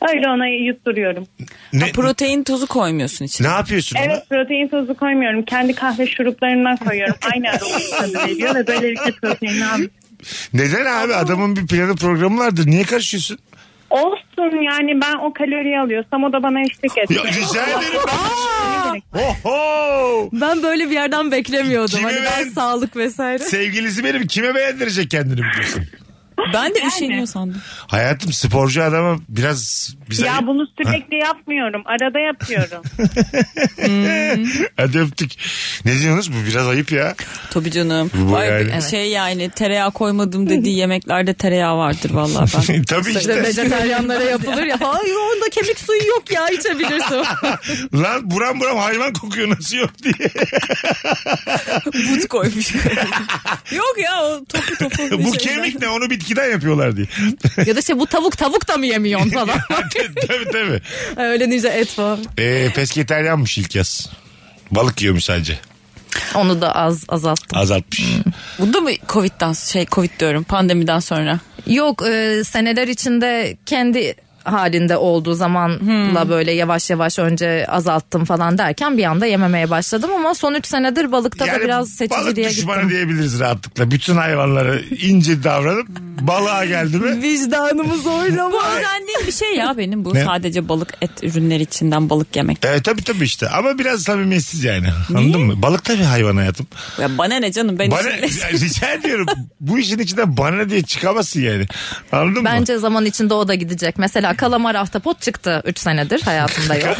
Speaker 7: Öyle ona yutturuyorum.
Speaker 3: Ne,
Speaker 4: Protein tozu koymuyorsun
Speaker 3: ne
Speaker 4: içine.
Speaker 3: yapıyorsun ona?
Speaker 7: Evet protein tozu koymuyorum. Kendi kahve şuruplarından koyuyorum. Aynı aroma tadı veriyor ve böylelikle proteini aldım.
Speaker 3: Neden abi adamın bir planı programı vardır. Niye karışıyorsun?
Speaker 7: Olsun yani ben o kaloriyi alıyorsam o da bana eşlik
Speaker 3: Ya,
Speaker 7: etti.
Speaker 3: rica ederim. Oho!
Speaker 5: Ben böyle bir yerden beklemiyordum.
Speaker 3: Kime
Speaker 5: hani ben
Speaker 3: ben-
Speaker 5: sağlık vesaire.
Speaker 3: Sevgilisi benim kime beğendirecek kendini biliyorsun.
Speaker 4: Ben de üşeniyor sandım.
Speaker 3: Hayatım sporcu adama biraz bize
Speaker 7: Ya bunu sürekli yapmıyorum. Arada yapıyorum.
Speaker 3: Hadi öptük. Ne diyorsunuz bu biraz ayıp ya.
Speaker 4: Tabii canım.
Speaker 3: Bu
Speaker 4: Vay,
Speaker 3: yani.
Speaker 4: be- Şey yani tereyağı koymadım dediği yemeklerde tereyağı vardır vallahi ben.
Speaker 3: Tabii işte.
Speaker 5: Vejeteryanlara yapılır ya. Hayır onda kemik suyu yok ya içebilirsin.
Speaker 3: Lan buram buram hayvan kokuyor nasıl yok diye.
Speaker 4: Buz koymuş. Yok ya o topu topu. bir
Speaker 3: bu
Speaker 4: şeyden.
Speaker 3: kemik ne onu bitkiden yapıyorlar diye.
Speaker 5: ya da şey bu tavuk tavuk da mı yemiyorsun falan.
Speaker 3: tabii tabii.
Speaker 5: Öyle deyince et var.
Speaker 3: Ee, pesketeryanmış ilk yaz. Balık yiyormuş sadece.
Speaker 5: Onu da az azalttım.
Speaker 3: Azaltmış.
Speaker 4: Bu da mı Covid'den şey Covid diyorum pandemiden sonra.
Speaker 5: Yok e, seneler içinde kendi halinde olduğu zamanla böyle yavaş yavaş önce azalttım falan derken bir anda yememeye başladım ama son 3 senedir balıkta da biraz
Speaker 3: balık
Speaker 5: seçiciliğe
Speaker 3: düşmanı
Speaker 5: gittim.
Speaker 3: diyebiliriz rahatlıkla. Bütün hayvanlara ince davranıp balığa geldi mi?
Speaker 5: Vicdanımız
Speaker 4: Bu
Speaker 5: oynamaz.
Speaker 4: özendiğim bir şey ya benim bu.
Speaker 3: Ne?
Speaker 4: Sadece balık et ürünleri içinden balık yemek.
Speaker 3: Evet E, tabii tabii işte ama biraz samimiyetsiz yani anladın mı? Balık da bir hayvan hayatım.
Speaker 4: Ya bana ne canım ben
Speaker 3: Bana,
Speaker 4: içinde-
Speaker 3: rica ediyorum bu işin içinden bana ne diye çıkamazsın yani anladın mı?
Speaker 5: Bence zaman içinde o da gidecek. Mesela kalamar ahtapot çıktı 3 senedir hayatımda yok.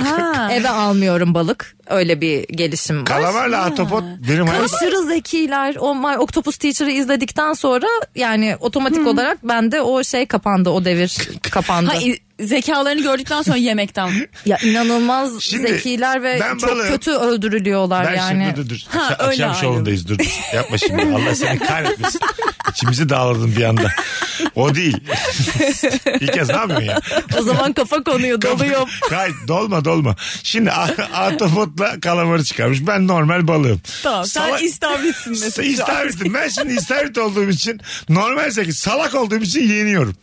Speaker 5: Eve almıyorum balık. Öyle bir gelişim var.
Speaker 3: Kalamarla ahtapot benim hayatım.
Speaker 5: Aşırı zekiler. O My Octopus Teacher'ı izledikten sonra yani otomatik olarak bende o şey kapandı. O devir kapandı.
Speaker 4: Ha, i- zekalarını gördükten sonra yemekten.
Speaker 5: Ya inanılmaz
Speaker 3: Şimdi
Speaker 5: zekiler ve
Speaker 3: ben
Speaker 5: çok
Speaker 3: balığım.
Speaker 5: kötü öldürülüyorlar
Speaker 3: Ben
Speaker 5: yani.
Speaker 3: şimdi dur dur.
Speaker 4: Ha,
Speaker 3: Akşam-
Speaker 4: öyle
Speaker 3: Akşam şovundayız dur. dur. Yapma şimdi. Allah seni kahretmesin. İçimizi dağladın bir anda. O değil. İlk kez ne yapıyorsun ya?
Speaker 5: O zaman kafa konuyor doluyor.
Speaker 3: Hayır dolma dolma. Şimdi a- ahtapotla kalamarı çıkarmış. Ben normal balığım.
Speaker 4: Tamam sen
Speaker 3: Salak-
Speaker 4: istavritsin
Speaker 3: Sa-
Speaker 4: mesela.
Speaker 3: İstavritim. Ben şimdi istavrit olduğum için normal zeki salak olduğum için yeniyorum.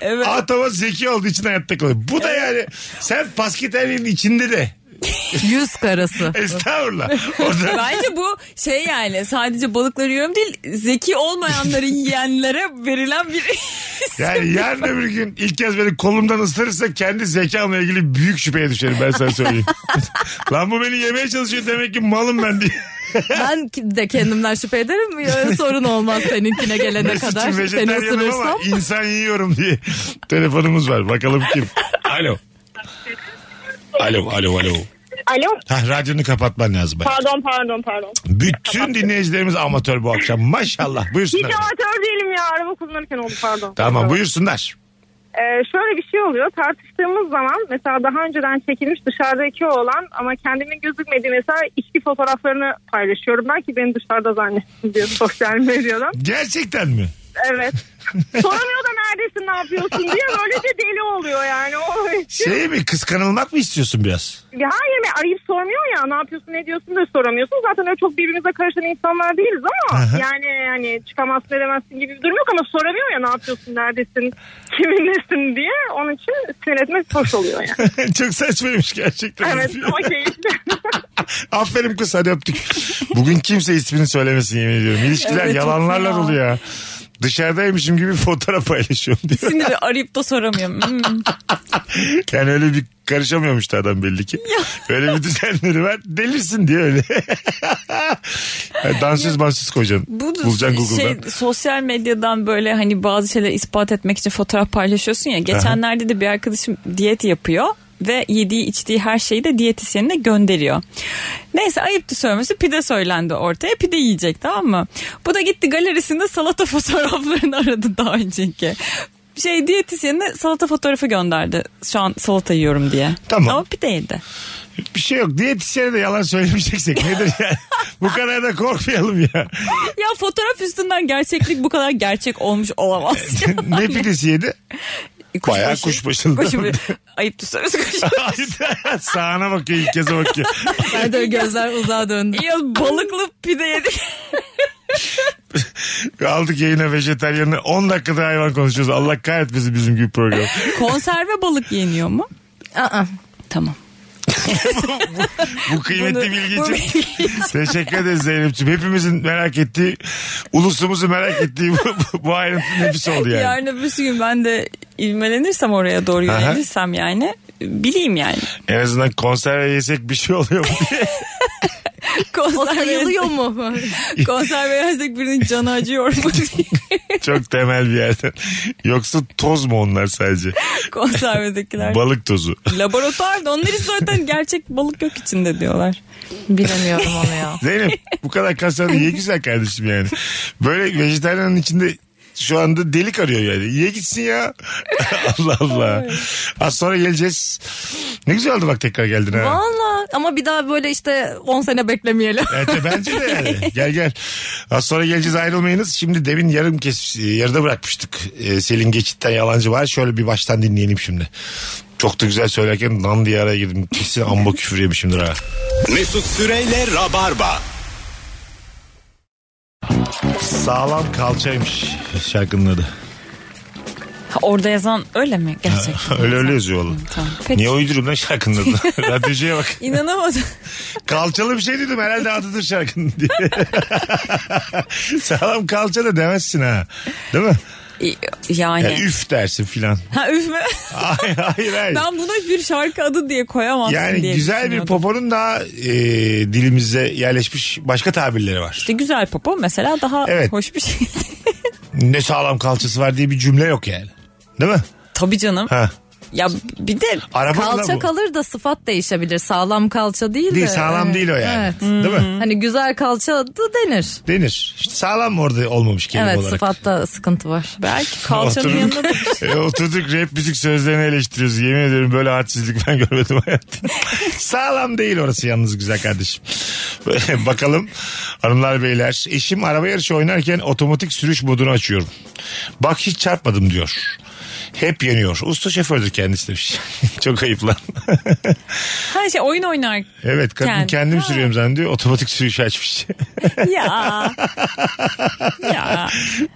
Speaker 3: Evet. Ahtapot zeki olduğu için hayatta kalıyor. Bu da yani sen pasketerliğin içinde de
Speaker 5: Yüz karası.
Speaker 3: estağfurullah. Orada
Speaker 4: Bence bu şey yani sadece balıkları yiyorum değil zeki olmayanların yiyenlere verilen bir
Speaker 3: Yani yarın öbür gün ilk kez beni kolumdan ısırırsa kendi zekamla ilgili büyük şüpheye düşerim ben sana söyleyeyim. Lan bu beni yemeye çalışıyor demek ki malım ben diye.
Speaker 5: Ben de kendimden şüphe ederim. Ya, Sorun olmaz seninkine gelene
Speaker 3: Mesut'cum
Speaker 5: kadar. Seni
Speaker 3: vejetaryenim ama
Speaker 5: ısırırsam.
Speaker 3: insan yiyorum diye. Telefonumuz var bakalım kim. Alo. Alo alo alo.
Speaker 7: Alo
Speaker 3: Hah, radyonu kapatman lazım. bak.
Speaker 7: pardon pardon pardon.
Speaker 3: Bütün dinleyicilerimiz amatör bu akşam maşallah
Speaker 7: Hiç
Speaker 3: buyursunlar.
Speaker 7: amatör değilim ya araba kullanırken oldu pardon.
Speaker 3: Tamam buyursunlar.
Speaker 7: Ee, şöyle bir şey oluyor. Tartıştığımız zaman mesela daha önceden çekilmiş dışarıdaki oğlan ama kendinin gözükmediği mesela içki fotoğraflarını paylaşıyorum. Belki beni dışarıda zannetsin diyor sosyal medyadan.
Speaker 3: Gerçekten mi?
Speaker 7: Evet. Soramıyor da neredesin ne yapıyorsun diye böylece deli oluyor yani. O,
Speaker 3: Şey mi kıskanılmak mı istiyorsun biraz?
Speaker 7: Ya hayır mi arayıp sormuyor ya ne yapıyorsun ne diyorsun da soramıyorsun. Zaten öyle çok birbirimize karışan insanlar değiliz ama
Speaker 3: Aha.
Speaker 7: yani hani çıkamazsın edemezsin gibi bir durum yok ama soramıyor ya ne yapıyorsun neredesin kiminlesin diye. Onun için sinir etmek hoş oluyor yani.
Speaker 3: Çok saçmaymış gerçekten.
Speaker 7: evet ama keyifli.
Speaker 3: Aferin kız hadi öptük. Bugün kimse ismini söylemesin yemin ediyorum. İlişkiler
Speaker 4: Evet, çok
Speaker 3: yalanlarla
Speaker 4: fena.
Speaker 3: dolu ya. Dışarıdaymışım gibi fotoğraf paylaşıyorum diye.
Speaker 4: siniri arayıp da soramıyorum. Hmm.
Speaker 3: Yani öyle bir karışamıyormuş da adam belli ki. öyle bir düzenleri var. Delirsin diye öyle. yani dansöz mansöz koyacaksın.
Speaker 4: Bu da
Speaker 3: Bulacaksın Google'dan.
Speaker 4: şey, sosyal medyadan böyle hani bazı şeyleri ispat etmek için fotoğraf paylaşıyorsun ya. Geçenlerde de bir arkadaşım diyet yapıyor ve yediği içtiği her şeyi de diyetisyenine gönderiyor. Neyse ayıptı söylemesi pide söylendi ortaya pide yiyecek tamam mı? Bu da gitti galerisinde salata fotoğraflarını aradı daha önceki. Şey diyetisyenine salata fotoğrafı gönderdi. Şu an salata yiyorum diye.
Speaker 3: Tamam.
Speaker 4: Ama pide yedi.
Speaker 3: Bir şey yok. Diyetisyene de yalan söylemeyeceksek nedir yani? Bu kadar da korkmayalım ya.
Speaker 4: Ya fotoğraf üstünden gerçeklik bu kadar gerçek olmuş olamaz.
Speaker 3: ne pidesi yedi?
Speaker 4: Kuşbaşı.
Speaker 3: Bayağı kuşbaşılı.
Speaker 4: Kuşbaşı. Ayıp tutarız kuşbaşı.
Speaker 3: Sağına bakıyor ilk kez bakıyor.
Speaker 5: Ben de gözler uzağa döndü.
Speaker 4: Ya balıklı pide yedik.
Speaker 3: Aldık yayına vejetaryenini 10 dakikada hayvan konuşuyoruz. Allah kahretmesin bizim gibi program.
Speaker 4: Konserve balık yeniyor mu?
Speaker 5: Aa,
Speaker 4: Tamam.
Speaker 3: Bu kıymetli
Speaker 4: Bunu-
Speaker 3: bilgi
Speaker 4: bu
Speaker 3: için teşekkür ederiz Zeynep'ciğim. Hepimizin merak ettiği, ulusumuzu merak ettiği bu, bu, bu ayrıntı nefis oldu yani.
Speaker 4: Yarın öbür gün ben de ilmelenirsem oraya doğru
Speaker 3: Aha.
Speaker 4: yönelirsem yani bileyim yani.
Speaker 3: En azından konserve yesek bir şey oluyor mu?
Speaker 5: o
Speaker 4: Konserve
Speaker 5: sayılıyor mu?
Speaker 4: Konserve yersek birinin canı acıyor mu diye.
Speaker 3: Çok temel bir yerden. Yoksa toz mu onlar sadece?
Speaker 4: Konservedekiler.
Speaker 3: Balık tozu.
Speaker 4: Laboratuvarda onları zaten gerçek balık yok içinde diyorlar.
Speaker 5: Bilemiyorum onu ya.
Speaker 3: Zeynep bu kadar kasarlı ye güzel kardeşim yani. Böyle vejetaryanın içinde şu anda delik arıyor yani. Ye gitsin ya. Allah Allah. Az sonra geleceğiz. Ne güzel oldu bak tekrar geldin ha.
Speaker 5: Valla ama bir daha böyle işte 10 sene beklemeyelim.
Speaker 3: Evet e, bence de yani. Gel gel. Az sonra geleceğiz ayrılmayınız. Şimdi demin yarım kes e, yarıda bırakmıştık. Ee, Selin Geçit'ten Yalancı var. Şöyle bir baştan dinleyelim şimdi. Çok da güzel söylerken nan diye araya girdim. Kesin amba küfür yemişimdir ha.
Speaker 2: Mesut Süreyle Rabarba.
Speaker 3: Sağlam kalçaymış şarkının adı.
Speaker 4: Ha, orada yazan öyle mi gerçekten?
Speaker 3: Öyle öyle yazıyor oğlum.
Speaker 4: Tamam. Peki.
Speaker 3: Niye uyduruyorum lan şarkının adını? Radyocuya bak.
Speaker 4: İnanamadım.
Speaker 3: Kalçalı bir şey dedim herhalde adıdır şarkının diye. Sağlam kalça da demezsin ha. Değil mi?
Speaker 4: Yani.
Speaker 3: Ya üf dersin filan.
Speaker 4: ha üf mü?
Speaker 3: Hayır hayır hayır.
Speaker 4: ben buna bir şarkı adı diye koyamazsın
Speaker 3: Yani
Speaker 4: diye
Speaker 3: güzel bir
Speaker 4: düşünüyordum.
Speaker 3: poponun daha e, dilimize yerleşmiş başka tabirleri var.
Speaker 4: İşte güzel popo mesela daha
Speaker 3: Evet.
Speaker 4: hoş bir şey.
Speaker 3: Ne sağlam kalçası var diye bir cümle yok yani. Değil mi?
Speaker 4: Tabii canım.
Speaker 3: Ha.
Speaker 4: Ya bir de
Speaker 3: Araba mı lan
Speaker 5: Kalça
Speaker 3: bu?
Speaker 5: kalır da sıfat değişebilir. Sağlam kalça değil de.
Speaker 3: Değil sağlam
Speaker 5: Evet,
Speaker 3: değil o yani.
Speaker 5: evet.
Speaker 3: Değil mi?
Speaker 5: Hani güzel kalça da denir.
Speaker 3: Denir. İşte sağlam orada olmamış kelime
Speaker 5: evet
Speaker 3: olarak.
Speaker 5: sıfatta sıkıntı var.
Speaker 4: belki kalçanın
Speaker 3: Oturduk-
Speaker 4: yanında da şey.
Speaker 3: E, oturduk rap müzik sözlerini eleştiriyoruz. Yemin ederim böyle artsizlik ben görmedim hayatımda. Sağlam değil orası yalnız güzel kardeşim. Bakalım hanımlar beyler. Eşim araba yarışı oynarken otomatik sürüş modunu açıyorum. Bak hiç çarpmadım diyor. Hep yeniyor. Usta şofördür kendisi demiş. Çok ayıp lan.
Speaker 4: her şey oyun oynar.
Speaker 3: evet kadın
Speaker 4: Kendi-
Speaker 3: kendim
Speaker 4: Ha.
Speaker 3: sürüyorum zannediyor. Otomatik sürüş açmış.
Speaker 4: ya. ya.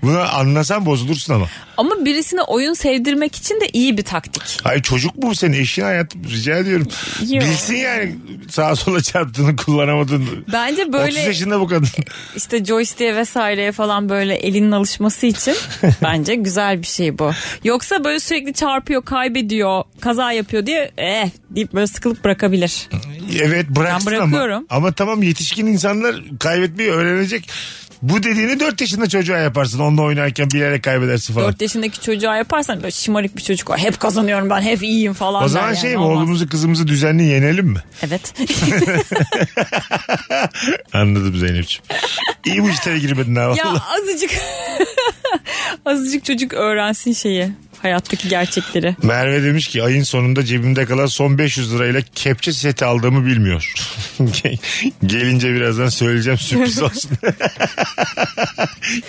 Speaker 3: Bunu anlasan bozulursun ama.
Speaker 4: Ama birisine oyun sevdirmek için de iyi bir taktik.
Speaker 3: Hayır çocuk mu bu senin eşin hayatım rica ediyorum.
Speaker 4: Yok.
Speaker 3: Bilsin yani sağa sola çarptığını kullanamadığını.
Speaker 4: Bence
Speaker 3: 30
Speaker 4: böyle
Speaker 3: yaşında bu kadın.
Speaker 4: işte joystick'e vesaireye falan böyle elinin alışması için bence güzel bir şey bu. Yoksa böyle sürekli çarpıyor, kaybediyor, kaza yapıyor diye eh deyip böyle sıkılıp bırakabilir.
Speaker 3: evet bıraksın
Speaker 4: Ben
Speaker 3: ama.
Speaker 4: bırakıyorum.
Speaker 3: Ama tamam yetişkin insanlar kaybetmeyi öğrenecek. Bu dediğini 4 yaşında çocuğa yaparsın. Onunla oynarken bilerek kaybedersin falan.
Speaker 4: 4 yaşındaki çocuğa yaparsan böyle şımarık bir çocuk var. Hep kazanıyorum ben, hep iyiyim falan.
Speaker 3: o
Speaker 4: der
Speaker 3: zaman
Speaker 4: yani.
Speaker 3: şey mi
Speaker 4: Olmaz.
Speaker 3: oğlumuzu kızımızı düzenli yenelim mi?
Speaker 4: Evet.
Speaker 3: Anladım Zeynep'ciğim. İyi bu işlere girmedin ha
Speaker 4: ya
Speaker 3: valla.
Speaker 4: azıcık azıcık çocuk öğrensin şeyi. Hayattaki gerçekleri.
Speaker 3: Merve demiş ki ayın sonunda cebimde kalan son 500 lirayla kepçe seti aldığımı bilmiyor. Gelince birazdan söyleyeceğim sürpriz olsun.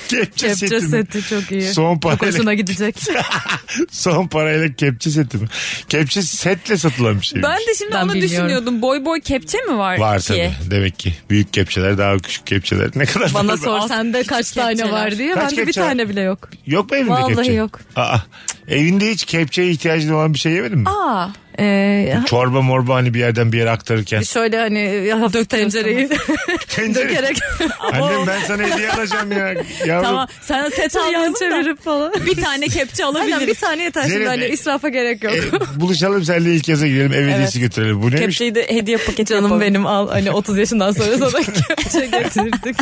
Speaker 3: kepçe,
Speaker 5: Kepçe
Speaker 3: seti. mi?
Speaker 5: seti çok iyi.
Speaker 3: Son
Speaker 5: çok
Speaker 3: parayla
Speaker 5: hoşuna gidecek.
Speaker 3: Son parayla kepçe seti mi? Kepçe setle satılan bir şey.
Speaker 4: Ben de şimdi
Speaker 5: Ben
Speaker 4: onu
Speaker 5: bilmiyorum.
Speaker 4: düşünüyordum. Boy boy kepçe mi var,
Speaker 3: Var
Speaker 4: ki?
Speaker 3: tabii. Demek ki büyük kepçeler daha küçük kepçeler. Ne kadar
Speaker 5: Bana
Speaker 3: var?
Speaker 5: sor sende kaç tane var diye.
Speaker 3: Kaç
Speaker 5: Bende bir
Speaker 3: kepçe var?
Speaker 5: tane bile yok.
Speaker 3: Yok mu evinde
Speaker 5: Vallahi
Speaker 3: kepçe?
Speaker 5: yok.
Speaker 3: Aa, evinde hiç kepçeye ihtiyacın olan bir şey yemedin mi?
Speaker 4: Aa,
Speaker 5: Ee,
Speaker 3: Çorba morba hani bir yerden bir yere aktarırken.
Speaker 5: şöyle hani hafif tencereyi
Speaker 3: Tencere.
Speaker 5: dökerek
Speaker 3: Annem ben sana hediye alacağım ya. Yavrum.
Speaker 4: tamam. Sen set
Speaker 5: yan
Speaker 4: almayalım da
Speaker 5: çevirip falan.
Speaker 4: bir tane kepçe
Speaker 5: Aynen bir
Speaker 4: alabiliriz.
Speaker 5: tane yeter şimdi
Speaker 3: Zeynep,
Speaker 5: hani
Speaker 3: e-
Speaker 5: israfa gerek yok.
Speaker 3: E, buluşalım seninle ilk yaza gidelim. Ev hediyesi götürelim. Bu neymiş?
Speaker 4: Kepçeyi de hediye paketi
Speaker 5: Canım
Speaker 4: yapalım.
Speaker 5: benim al hani 30 yaşından sonra sana kepçe getirdik.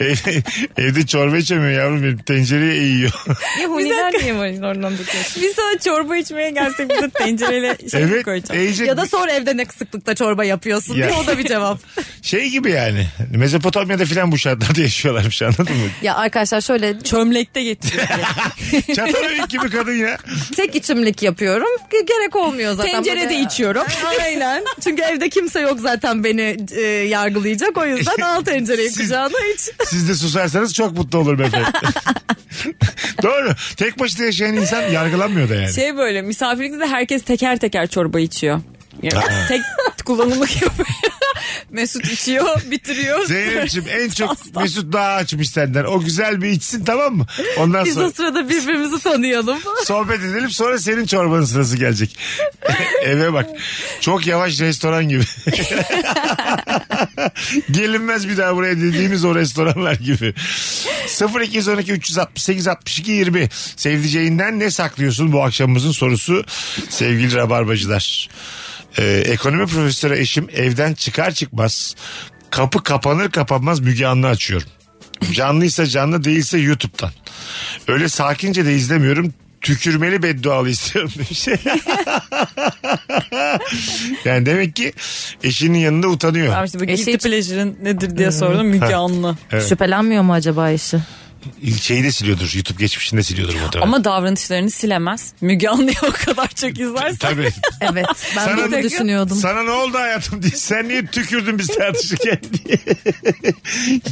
Speaker 3: Ev- evde çorba içemiyor yavrum benim. Tencereye eğiyor.
Speaker 5: Ya huniler niye var oradan döküyorsun?
Speaker 4: Biz sana çorba içmeye gelsek bir de tencereyle şey
Speaker 3: evet.
Speaker 4: koyacağım.
Speaker 3: Eğecek.
Speaker 5: Ya da sonra evde ne sıklıkta çorba yapıyorsun
Speaker 3: Ya.
Speaker 5: diye o da bir cevap.
Speaker 3: Şey gibi yani. Mezopotamya'da filan bu şartlarda yaşıyorlarmış anladın mı?
Speaker 5: ya arkadaşlar şöyle
Speaker 4: Çömlekte getiriyor.
Speaker 3: Çatalhöyük gibi kadın ya.
Speaker 5: tek içimlik yapıyorum. Ge- Gerek olmuyor zaten.
Speaker 4: Tencerede
Speaker 5: Böyle-
Speaker 4: içiyorum.
Speaker 5: Aynen. Çünkü evde kimse yok zaten beni e, yargılayacak. O yüzden al tencereyi
Speaker 3: Siz-
Speaker 5: kucağına iç.
Speaker 3: Siz de susarsanız çok mutlu olur beyefendi. Doğru. Tek başına yaşayan insan yargılanmıyor da yani.
Speaker 4: Şey böyle misafirlikte de herkes teker teker çorba içiyor. Yani tek kart kullanımı gibi. Mesut içiyor, bitiriyor.
Speaker 3: Zeynep'ciğim en çok Mesut daha açmış senden. O güzel bir içsin tamam mı? Ondan
Speaker 5: Biz o
Speaker 3: sonra
Speaker 5: sırada birbirimizi tanıyalım.
Speaker 3: sohbet edelim sonra senin çorbanın sırası gelecek. Eve bak. Çok yavaş restoran gibi. Gelinmez bir daha buraya dediğimiz o restoranlar gibi. 0212 368 62 20 Sevdiceğinden ne saklıyorsun bu akşamımızın sorusu sevgili rabarbacılar. Ee, ekonomi profesörü eşim evden çıkar çıkmaz kapı kapanır kapanmaz Müge Anlı açıyorum. Canlıysa canlı değilse YouTube'dan. Öyle sakince de izlemiyorum. Tükürmeli beddualı istiyorum demiş. yani demek ki eşinin yanında utanıyor.
Speaker 4: Abi işte bu
Speaker 5: Eşi
Speaker 4: guilty
Speaker 5: hiç-
Speaker 4: pleasure'ın nedir diye sordum. Müge Anlı.
Speaker 3: Evet.
Speaker 5: Şüphelenmiyor mu acaba işi?
Speaker 3: Şeyi de siliyordur. YouTube geçmişinde siliyordur muhtemelen.
Speaker 4: Ama davranışlarını silemez. Müge Anlı'ya o kadar çok izlersen.
Speaker 3: Tabii.
Speaker 5: Evet ben
Speaker 3: Sana-
Speaker 5: de onu düşünüyordum.
Speaker 3: Sana ne oldu hayatım diye. Sen niye tükürdün biz tartışırken diye.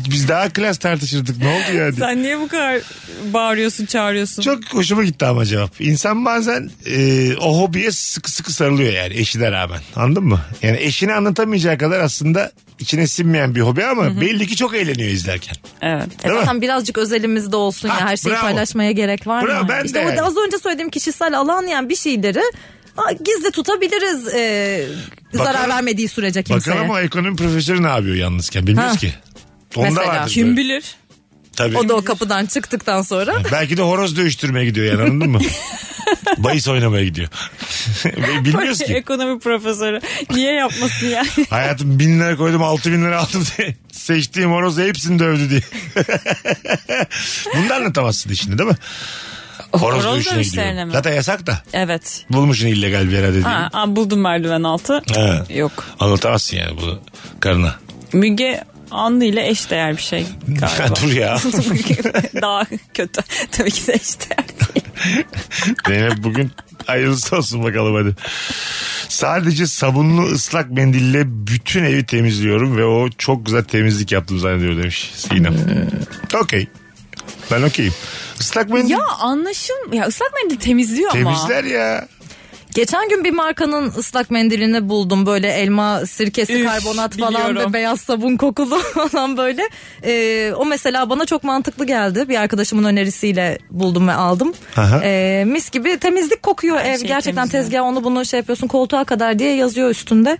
Speaker 3: biz daha klas tartışırdık. Ne oldu yani?
Speaker 4: Sen niye bu kadar bağırıyorsun, çağırıyorsun?
Speaker 3: Çok hoşuma gitti ama cevap. İnsan bazen e, o hobiye sıkı sıkı sarılıyor yani eşine rağmen. Anladın mı? Yani eşini anlatamayacağı kadar aslında içine sinmeyen bir hobi ama belli ki çok eğleniyor izlerken.
Speaker 4: Evet.
Speaker 5: E zaten birazcık özelimizde olsun
Speaker 3: Ha,
Speaker 5: ya her şeyi
Speaker 3: bravo.
Speaker 5: paylaşmaya gerek var
Speaker 3: Bravo,
Speaker 5: mı?
Speaker 3: ben
Speaker 5: işte
Speaker 3: de yani.
Speaker 5: o az önce söylediğim kişisel alan yani bir şeyleri aa, gizli tutabiliriz e,
Speaker 3: Bakalım-
Speaker 5: zarar vermediği sürece kimseye.
Speaker 3: Bakalım o ekonomi profesörü ne yapıyor yalnızken bilmiyoruz
Speaker 5: Ha.
Speaker 3: ki. Onda
Speaker 5: Mesela.
Speaker 3: vardır
Speaker 4: Kim
Speaker 3: böyle.
Speaker 4: bilir?
Speaker 3: Tabii.
Speaker 5: O da o kapıdan çıktıktan sonra
Speaker 3: Belki de horoz dövüştürmeye gidiyor yani anladın mı? Bayis oynamaya gidiyor. Ve Bilmiyoruz ki.
Speaker 4: Ekonomi profesörü. Niye yapmasın yani?
Speaker 3: Hayatım bin lira koydum altı bin lira aldım diye. Seçtiğim horoz hepsini dövdü diye. Bunu da anlatamazsın işini değil mi? Horoz,
Speaker 4: horoz
Speaker 3: dövüşüne
Speaker 4: dövüşlerine
Speaker 3: gidiyor.
Speaker 4: mi?
Speaker 3: Zaten yasak da.
Speaker 4: Evet.
Speaker 3: Bulmuşsun illegal bir yerde
Speaker 4: Ha,
Speaker 3: diye.
Speaker 4: aa, buldum merdiven altı.
Speaker 3: Ha.
Speaker 4: Yok.
Speaker 3: Anlatamazsın yani bunu karına.
Speaker 4: Müge Anlı ile eşdeğer bir şey galiba.
Speaker 3: Dur ya.
Speaker 4: Daha kötü. Tabii ki de eşdeğer değil.
Speaker 3: Zeynep bugün hayırlısı olsun bakalım hadi. Sadece sabunlu ıslak mendille bütün evi temizliyorum ve o çok güzel temizlik yaptım zannediyor demiş Sinem. Okey. Ben okeyim. Islak mendil
Speaker 4: Ee. Ya anlaşım. Ya ıslak mendil temizliyor ama.
Speaker 3: temizler ya.
Speaker 5: Geçen gün bir markanın ıslak mendilini buldum böyle elma sirkesi
Speaker 4: Üf,
Speaker 5: karbonat falan
Speaker 4: biliyorum.
Speaker 5: ve beyaz sabun kokulu falan böyle. Ee, o mesela bana çok mantıklı geldi. Bir arkadaşımın önerisiyle buldum ve aldım.
Speaker 3: Aha.
Speaker 5: Ee, mis gibi temizlik kokuyor
Speaker 4: Her
Speaker 5: ev
Speaker 4: şey
Speaker 5: gerçekten
Speaker 4: temizliyor.
Speaker 5: tezgah onu bunu şey yapıyorsun koltuğa kadar diye yazıyor üstünde.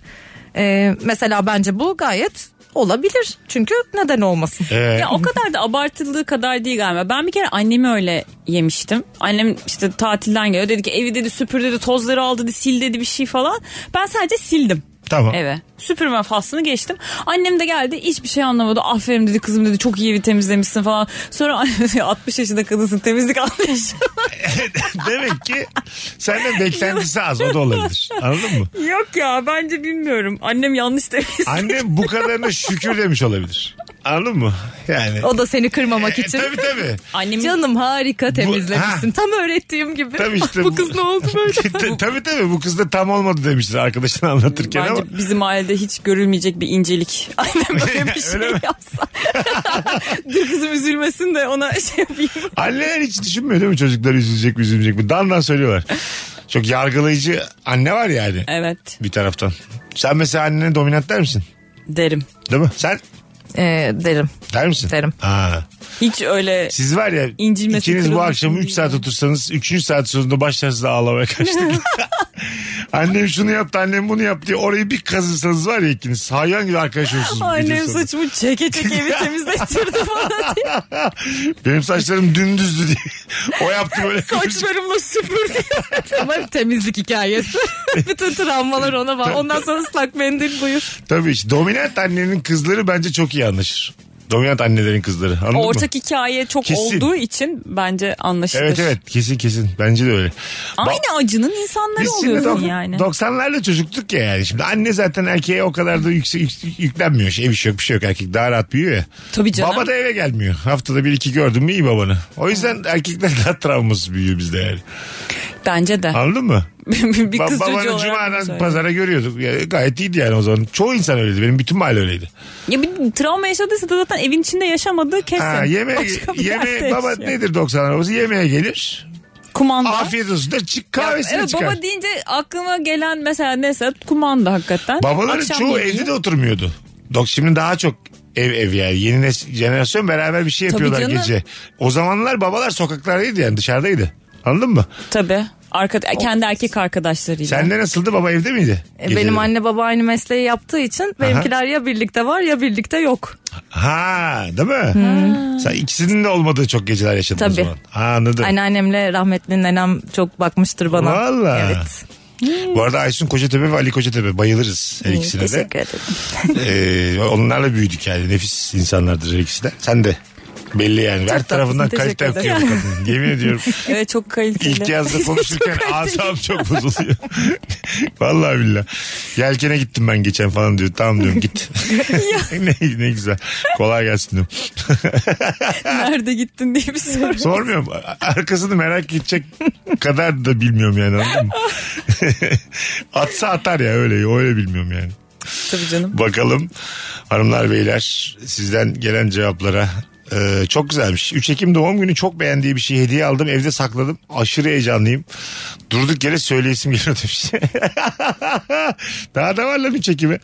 Speaker 5: Ee, mesela bence bu gayet olabilir çünkü neden olmasın.
Speaker 3: Ee,
Speaker 4: Ya o kadar da abartıldığı kadar değil galiba. Ben bir kere annemi öyle yemiştim. Annem işte tatilden geliyor. Dedi ki evi dedi süpür dedi tozları aldı dedi sil dedi bir şey falan. Ben sadece sildim.
Speaker 3: tamam.
Speaker 4: eve. Süpürme faslını geçtim. Annem de geldi hiçbir şey anlamadı. Aferin dedi kızım dedi çok iyi bir temizlemişsin falan. Sonra anne, 60 yaşında kadınsın temizlik anlayışı.
Speaker 3: Demek ki senden beklentisi az o da olabilir. Anladın mı?
Speaker 4: Yok ya bence bilmiyorum. Annem yanlış temizlik.
Speaker 3: Annem bu kadarına şükür demiş olabilir. Anladın mı? Yani.
Speaker 5: O da seni kırmamak
Speaker 3: E,
Speaker 5: için.
Speaker 3: tabii tabii.
Speaker 4: Annemin
Speaker 5: Canım harika temizlemişsin.
Speaker 3: ha.
Speaker 5: Tam öğrettiğim gibi.
Speaker 3: Tabii işte
Speaker 5: bu kız ne oldu böyle?
Speaker 3: Ta- tabii tabii bu kız da tam olmadı demiştir arkadaşına anlatırken ama.
Speaker 4: Bence bizim ailede hiç görülmeyecek bir incelik. Annem böyle bir şey
Speaker 3: Öyle mi?
Speaker 4: yapsa. Dur kızım üzülmesin de ona şey yapayım.
Speaker 3: Anneler hiç düşünmüyor değil mi çocuklar üzülecek mi üzülmeyecek mi? Dandan söylüyorlar. Çok yargılayıcı anne var yani
Speaker 4: Evet
Speaker 3: bir taraftan. Sen mesela annene dominant der misin?
Speaker 4: derim.
Speaker 3: Değil mi? Sen
Speaker 5: Ee, derim.
Speaker 3: der misin?
Speaker 5: Derim.
Speaker 3: Ha.
Speaker 4: Hiç öyle
Speaker 3: Siz var ya
Speaker 4: İncinmesi,
Speaker 3: ikiniz bu
Speaker 4: kırılması
Speaker 3: akşam 3
Speaker 4: değil
Speaker 3: saat otursanız 3. saat sonunda başlarsınız ağlamaya kaçtık. annem şunu yaptı annem bunu yaptı diye orayı bir kazırsanız var ya ikiniz hayvan gibi arkadaş olursunuz. bir gece
Speaker 4: annem
Speaker 3: sonra.
Speaker 4: saçımı çeke çeke evi temizleştirdi falan diye.
Speaker 3: Benim saçlarım dümdüzdü diye. O yaptı böyle.
Speaker 4: Saçlarımla süpürdü.
Speaker 5: Ama temizlik hikayesi. Bütün travmalar ona var. Ondan sonra ıslak mendil buyur.
Speaker 3: Tabii işte dominant annenin kızları bence çok iyi anlaşır. Dominant annelerin kızları. Anladın mı?
Speaker 4: Ortak hikaye çok
Speaker 3: Kesin.
Speaker 4: olduğu için bence anlaşılır.
Speaker 3: Evet evet kesin kesin bence de öyle. Ba-
Speaker 4: Aynı acının insanları
Speaker 3: Biz şimdi
Speaker 4: oluyorsun
Speaker 3: dok-
Speaker 4: yani.
Speaker 3: 90'larda çocuktuk ya yani. Şimdi anne zaten erkeğe o kadar da yüksek, yüksek- yüklenmiyor. Şey, ev işi yok bir şey yok erkek daha rahat büyüyor ya.
Speaker 4: Tabii canım.
Speaker 3: Baba da eve gelmiyor. Haftada bir iki gördüm mü iyi babanı. O yüzden erkekler daha travması büyüyor bizde yani.
Speaker 4: Bence de.
Speaker 3: Anladın mı?
Speaker 4: bir
Speaker 3: Ba-
Speaker 4: kız
Speaker 3: babanı
Speaker 4: çocuğu olarak. bunu
Speaker 3: cumadan
Speaker 4: söylüyorum.
Speaker 3: pazara görüyorduk. Ya, gayet iyiydi yani o zaman. Çoğu insan öyleydi. Benim bütün mahalle öyleydi.
Speaker 4: Ya bir travma yaşadıysa da zaten evin içinde yaşamadığı kesin.
Speaker 3: Ha, yemeğe,
Speaker 4: Başka bir
Speaker 3: yemeğe
Speaker 4: yerde
Speaker 3: baba
Speaker 4: yaşıyor.
Speaker 3: nedir 90'lar babası? Yemeğe gelir.
Speaker 4: kumanda.
Speaker 3: Afiyet olsun der. Çık kahvesini
Speaker 4: evet,
Speaker 3: çıkar.
Speaker 4: Baba deyince aklıma gelen mesela neyse kumanda hakikaten.
Speaker 3: Babaların
Speaker 4: Akşam
Speaker 3: çoğu
Speaker 4: yemeği.
Speaker 3: evde de oturmuyordu. Dok şimdi daha çok ev ev yani. Yeni nes- jenerasyon beraber bir şey
Speaker 4: Tabii
Speaker 3: yapıyorlar
Speaker 4: canım.
Speaker 3: gece. O zamanlar babalar sokaklardaydı yani dışarıdaydı. Anladın mı?
Speaker 4: Tabii. Arka, kendi erkek arkadaşlarıyla.
Speaker 3: Sende nasıldı baba evde miydi?
Speaker 5: E,
Speaker 3: Geceleri?
Speaker 5: Benim anne baba aynı mesleği yaptığı için benimkiler ya birlikte var ya birlikte yok.
Speaker 3: Ha değil mi? Sen ikisinin de olmadığı çok geceler yaşadın o
Speaker 4: Tabii.
Speaker 3: zaman. Ha, anladım.
Speaker 5: Anneannemle rahmetli nenem çok bakmıştır bana.
Speaker 3: Valla.
Speaker 5: Evet.
Speaker 3: Bu arada Aysun Kocatepe ve Ali Kocatepe bayılırız her ikisine de.
Speaker 5: Teşekkür ederim.
Speaker 3: Ee, onlarla büyüdük yani. Nefis insanlardır her ikisi de. Sen de. Belli yani. her
Speaker 5: tatlısın,
Speaker 3: tarafından kalite
Speaker 5: teşekkür
Speaker 3: akıyor bu kadın. Yemin ediyorum.
Speaker 4: Evet çok kaliteli.
Speaker 3: İlk yazda konuşurken asam çok bozuluyor. Vallahi billah. Yelkene gittim ben geçen falan diyor. Tamam diyorum git. ne, ne güzel. Kolay gelsin diyorum.
Speaker 4: Nerede gittin diye bir soru.
Speaker 3: Sormuyorum. Arkasını merak edecek kadar da bilmiyorum yani anladın mı? Atsa atar ya öyle. Öyle bilmiyorum yani.
Speaker 4: Tabii canım.
Speaker 3: Bakalım hanımlar beyler sizden gelen cevaplara. Ee, çok güzelmiş. 3 Ekim doğum günü çok beğendiği bir şey hediye aldım. Evde sakladım. Aşırı heyecanlıyım. Durduk yere söyleyesim geliyor demiş. Daha da var lan 3 Ekim'e.